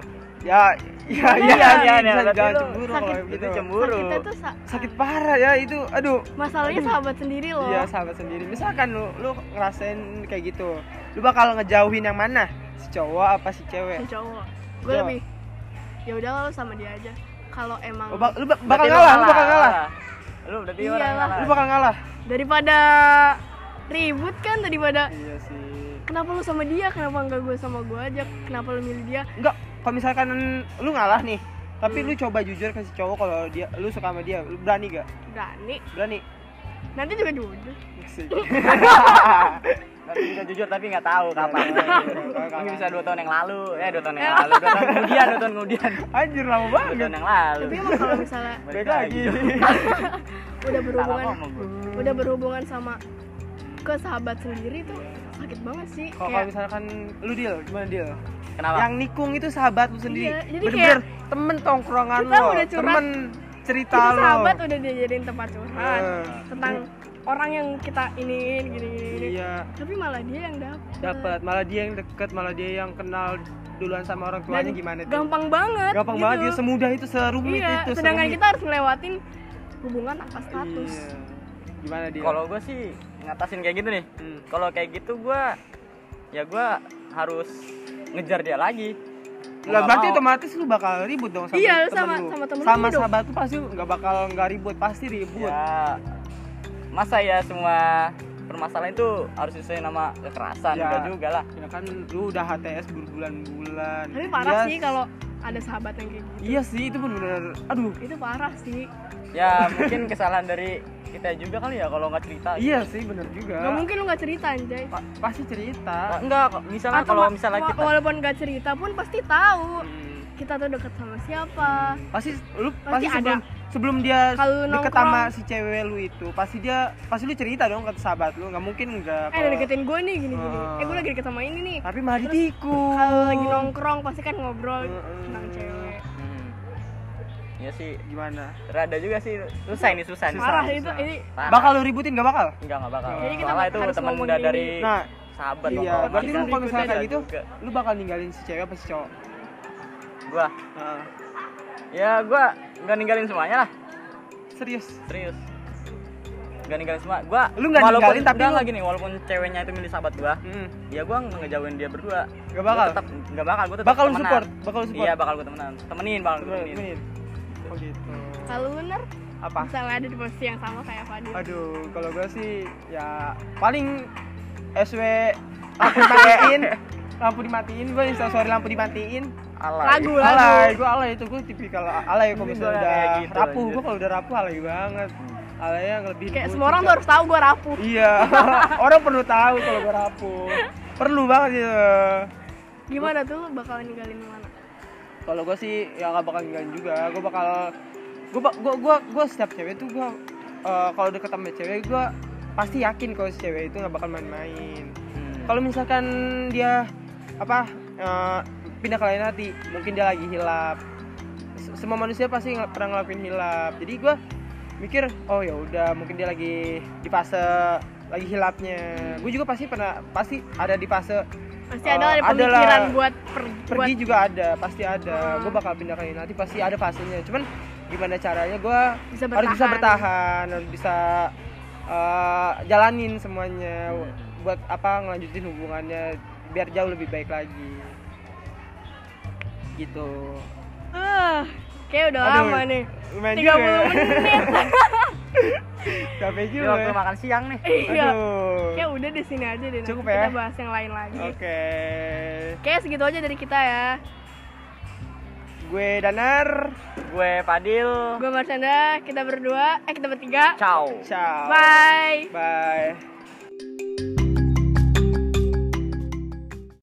[SPEAKER 3] Ya, ya,
[SPEAKER 2] Iya,
[SPEAKER 3] iya, iya,
[SPEAKER 2] iya,
[SPEAKER 3] bisa
[SPEAKER 2] berarti
[SPEAKER 3] jangan
[SPEAKER 2] lu
[SPEAKER 3] cemburu
[SPEAKER 1] sakit
[SPEAKER 3] kalau
[SPEAKER 2] itu
[SPEAKER 3] gitu.
[SPEAKER 2] cemburu
[SPEAKER 1] sakitnya tuh sa-
[SPEAKER 3] Sakit parah ya itu. Aduh,
[SPEAKER 1] masalahnya sahabat sendiri loh
[SPEAKER 3] Iya sahabat sendiri. Misalkan lu lu ngerasain kayak gitu, lu bakal ngejauhin yang mana? Si cowok apa si
[SPEAKER 1] si
[SPEAKER 3] cewek?
[SPEAKER 1] cowok gue
[SPEAKER 3] Cowok.
[SPEAKER 1] lebih ya udah lo sama dia aja kalau emang
[SPEAKER 3] Lu, bak- lu bak- bakal
[SPEAKER 2] Berarti
[SPEAKER 3] ngalah, lu bakal ngalah.
[SPEAKER 2] lu berarti
[SPEAKER 1] Iyalah.
[SPEAKER 2] orang ngalah
[SPEAKER 3] Lu bakal ngalah.
[SPEAKER 1] daripada ribut kan daripada
[SPEAKER 3] Iya sih.
[SPEAKER 1] kenapa lu sama dia kenapa nggak gue sama gue aja kenapa lu milih dia
[SPEAKER 3] Enggak, kalau misalkan lu ngalah nih, tapi lu coba jujur ke si cowok kalau dia lu suka sama dia, lu berani gak?
[SPEAKER 1] berani
[SPEAKER 3] [laughs] Berani.
[SPEAKER 1] nanti juga jujur
[SPEAKER 3] Sih.
[SPEAKER 2] Berarti bisa jujur tapi nggak tahu kapan mungkin bisa dua tahun yang lalu ya dua tahun yang
[SPEAKER 1] Ya.
[SPEAKER 2] lalu dua tahun kemudian dua tahun
[SPEAKER 3] [laughs]
[SPEAKER 2] kemudian
[SPEAKER 3] Anjir lama
[SPEAKER 2] dua
[SPEAKER 3] banget.
[SPEAKER 2] tahun yang lalu
[SPEAKER 1] tapi emang kalau misalnya
[SPEAKER 2] Balik
[SPEAKER 3] nah, Balik lagi. [laughs]
[SPEAKER 1] udah
[SPEAKER 2] salah
[SPEAKER 1] berhubungan
[SPEAKER 2] ngomong gua.
[SPEAKER 1] udah berhubungan sama ke sahabat sendiri tuh sakit banget sih
[SPEAKER 3] Kalau kalau misalkan lu deal, gimana deal?
[SPEAKER 2] kenapa
[SPEAKER 3] Yang nikung itu sahabat lu sendiri.
[SPEAKER 1] Iya, jadi
[SPEAKER 3] Bener-bener temen tongkrongan
[SPEAKER 1] Kita
[SPEAKER 3] lo,
[SPEAKER 1] udah curhat.
[SPEAKER 3] temen cerita
[SPEAKER 1] kita
[SPEAKER 3] lo.
[SPEAKER 1] sahabat Ah. udah dijadiin tempat curhat
[SPEAKER 3] Eh,
[SPEAKER 1] tentang orang yang kita iniin gini gini, gini.
[SPEAKER 3] Iya,
[SPEAKER 1] tapi malah dia yang dapet
[SPEAKER 3] dapat. Malah dia yang deket, malah dia yang kenal duluan sama orang tuanya
[SPEAKER 1] Dan
[SPEAKER 3] gimana tuh?
[SPEAKER 1] gampang banget
[SPEAKER 3] Gampang
[SPEAKER 1] gitu.
[SPEAKER 3] banget dia semudah itu, gitu. serumit
[SPEAKER 1] iya
[SPEAKER 3] itu.
[SPEAKER 1] sedangkan
[SPEAKER 3] serumit.
[SPEAKER 1] kita harus ngelewatin hubungan tanpa status
[SPEAKER 3] Iya. Gimana dia?
[SPEAKER 2] kalau gue sih ngatasin kayak gitu nih
[SPEAKER 3] Hmm.
[SPEAKER 2] kalau kayak gitu gue ya gue harus ngejar dia lagi
[SPEAKER 3] Lah
[SPEAKER 2] Gua nggak
[SPEAKER 3] berarti
[SPEAKER 2] mau.
[SPEAKER 3] otomatis lu bakal ribut dong sama
[SPEAKER 1] Iya, lu
[SPEAKER 3] temen
[SPEAKER 1] sama-
[SPEAKER 3] lu.
[SPEAKER 1] sama temen lu
[SPEAKER 3] Sama
[SPEAKER 1] hidup.
[SPEAKER 3] sahabat tuh pasti nggak bakal nggak ribut, pasti
[SPEAKER 1] Iya.
[SPEAKER 3] ribut.
[SPEAKER 2] ya masa ya semua permasalahan itu harus sesuai nama kekerasan
[SPEAKER 1] Iya.
[SPEAKER 3] Ya.
[SPEAKER 2] juga juga lah
[SPEAKER 3] Ya kan lu udah HTS berbulan-bulan.
[SPEAKER 1] tapi parah
[SPEAKER 3] Iya
[SPEAKER 1] sih kalau ada sahabat yang kayak gitu
[SPEAKER 3] Iya sih itu benar-benar aduh.
[SPEAKER 1] itu parah sih
[SPEAKER 3] Eh.
[SPEAKER 1] [laughs]
[SPEAKER 2] ya mungkin kesalahan dari kita juga kali ya kalau nggak cerita
[SPEAKER 3] Iya sih benar juga.
[SPEAKER 1] nggak mungkin lu nggak cerita anjay
[SPEAKER 3] Pa- pasti cerita.
[SPEAKER 2] Nah, enggak kok. misalnya
[SPEAKER 1] Atau
[SPEAKER 2] kalau
[SPEAKER 1] wa-
[SPEAKER 2] misalnya
[SPEAKER 1] wa-
[SPEAKER 2] kita
[SPEAKER 1] walaupun nggak cerita pun pasti tahu
[SPEAKER 3] Hmm.
[SPEAKER 1] kita tuh deket sama siapa
[SPEAKER 3] Pasti lu
[SPEAKER 1] Pasti
[SPEAKER 3] pasti,
[SPEAKER 1] ada.
[SPEAKER 3] sebelum sebelum dia
[SPEAKER 1] Kalau
[SPEAKER 3] deket
[SPEAKER 1] nongkrong-
[SPEAKER 3] sama si cewek lu itu, pasti dia pasti lu cerita dong ke sahabat lu, nggak mungkin enggak.
[SPEAKER 1] eh ada deketin gue nih gini gini
[SPEAKER 3] Ah.
[SPEAKER 1] eh gue lagi deket sama ini nih
[SPEAKER 3] Tapi malah ditikung.
[SPEAKER 1] kalau lagi nongkrong pasti kan ngobrol
[SPEAKER 3] Heeh.
[SPEAKER 1] tentang cewek
[SPEAKER 2] Hmm. ya sih
[SPEAKER 3] Gimana?
[SPEAKER 2] rada juga sih susah ini susah nih.
[SPEAKER 1] parah
[SPEAKER 3] susah.
[SPEAKER 1] itu ini
[SPEAKER 2] Parah.
[SPEAKER 3] Bakal lu ributin nggak bakal?
[SPEAKER 2] enggak enggak bakal
[SPEAKER 1] Jadi kita
[SPEAKER 2] soalnya itu
[SPEAKER 1] harus
[SPEAKER 2] teman
[SPEAKER 1] ngomongin
[SPEAKER 2] udah
[SPEAKER 1] ini.
[SPEAKER 2] dari
[SPEAKER 3] Nah,
[SPEAKER 2] sahabat
[SPEAKER 3] iya,
[SPEAKER 2] bakal-
[SPEAKER 3] berarti lu
[SPEAKER 2] bakal
[SPEAKER 3] kalau misalnya kayak
[SPEAKER 2] ribut
[SPEAKER 3] gitu,
[SPEAKER 2] juga.
[SPEAKER 3] lu bakal ninggalin si cewek apa si cowok?
[SPEAKER 2] gua
[SPEAKER 3] Nah,
[SPEAKER 2] ya gua nggak ninggalin semuanya lah
[SPEAKER 3] serius.
[SPEAKER 2] serius nggak ninggalin semua gua
[SPEAKER 3] Lu nggak
[SPEAKER 2] walaupun-
[SPEAKER 3] ninggalin, tapi
[SPEAKER 2] enggak,
[SPEAKER 3] lu-
[SPEAKER 2] enggak gini walaupun ceweknya itu milih sahabat gua
[SPEAKER 3] Hmm.
[SPEAKER 2] ya gua ngejauhin dia berdua
[SPEAKER 3] Nggak bakal?
[SPEAKER 2] Gua tetap nggak bakal gua tetap
[SPEAKER 3] Bakal lu
[SPEAKER 2] temenan.
[SPEAKER 3] support, bakal lu support.
[SPEAKER 2] iya bakal gua temenan temenin bakal gua temenin
[SPEAKER 3] Temenin. Oh gitu.
[SPEAKER 1] kalau lunar
[SPEAKER 3] Apa?
[SPEAKER 1] misalnya ada di posisi yang sama kayak Fadil
[SPEAKER 3] Aduh, kalau gue sih ya paling SW lampu
[SPEAKER 2] [laughs]
[SPEAKER 3] dimatiin, lampu dimatiin, gue insta story lampu dimatiin.
[SPEAKER 2] alay
[SPEAKER 1] lagu
[SPEAKER 3] Alay,
[SPEAKER 1] lagu
[SPEAKER 3] gue alay itu gue tipikal alay kalau
[SPEAKER 2] Ini
[SPEAKER 3] misalnya
[SPEAKER 2] gua
[SPEAKER 3] udah
[SPEAKER 2] kayak gitu,
[SPEAKER 3] rapuh,
[SPEAKER 2] anjir. Hmm.
[SPEAKER 3] gue kalau udah rapuh alay banget. Alay yang lebih
[SPEAKER 1] kayak
[SPEAKER 3] gua
[SPEAKER 1] semua orang
[SPEAKER 3] juga.
[SPEAKER 1] tuh harus tahu gue rapuh
[SPEAKER 3] Iya, [laughs] orang perlu tahu kalau gue rapuh. Perlu banget ya.
[SPEAKER 1] gimana tuh lu bakal ninggalin mana
[SPEAKER 3] Kalau gue sih ya gak bakal ninggalin juga, gue bakal gue gue gue gue setiap cewek tuh gue eh, kalau deket sama cewek gue pasti yakin kalau si cewek itu nggak bakal main-main.
[SPEAKER 2] Hmm.
[SPEAKER 3] kalau misalkan dia apa eh, pindah ke lain hati mungkin dia lagi hilap Se- semua manusia pasti ngel- pernah ngelakuin hilap jadi gua mikir oh ya udah mungkin dia lagi di fase lagi hilapnya gue juga pasti pernah pasti ada di fase
[SPEAKER 1] pasti
[SPEAKER 3] Eh,
[SPEAKER 1] ada ada
[SPEAKER 3] adalah-
[SPEAKER 1] pemikiran buat per- buat
[SPEAKER 3] pergi juga ada pasti ada
[SPEAKER 1] Hmm.
[SPEAKER 3] gue bakal pindah ke lain hati pasti ada fasenya cuman gimana caranya gua
[SPEAKER 1] bisa bertahan
[SPEAKER 3] harus bisa bertahan harus bisa eh, jalanin semuanya
[SPEAKER 2] Hmm.
[SPEAKER 3] buat apa ngelanjutin hubungannya biar jauh lebih baik lagi gitu
[SPEAKER 1] Ah, kayak udah
[SPEAKER 3] Aduh.
[SPEAKER 1] Eh, lama nih
[SPEAKER 3] lumayan
[SPEAKER 1] 30
[SPEAKER 3] juga ya.
[SPEAKER 1] menit
[SPEAKER 3] [laughs] capek
[SPEAKER 2] Ini
[SPEAKER 3] juga
[SPEAKER 2] waktu makan siang nih.
[SPEAKER 1] Iya. Ya
[SPEAKER 3] aduh
[SPEAKER 1] udah di sini aja deh. nanti
[SPEAKER 3] Cukup ya?
[SPEAKER 1] Kita bahas yang lain lagi.
[SPEAKER 3] oke
[SPEAKER 1] Oke, segitu aja dari kita ya.
[SPEAKER 3] gue danar
[SPEAKER 2] Gue Padil.
[SPEAKER 1] Gue Marsanda, kita berdua, eh kita bertiga.
[SPEAKER 2] Ciao.
[SPEAKER 3] ciao
[SPEAKER 1] Bye.
[SPEAKER 3] bye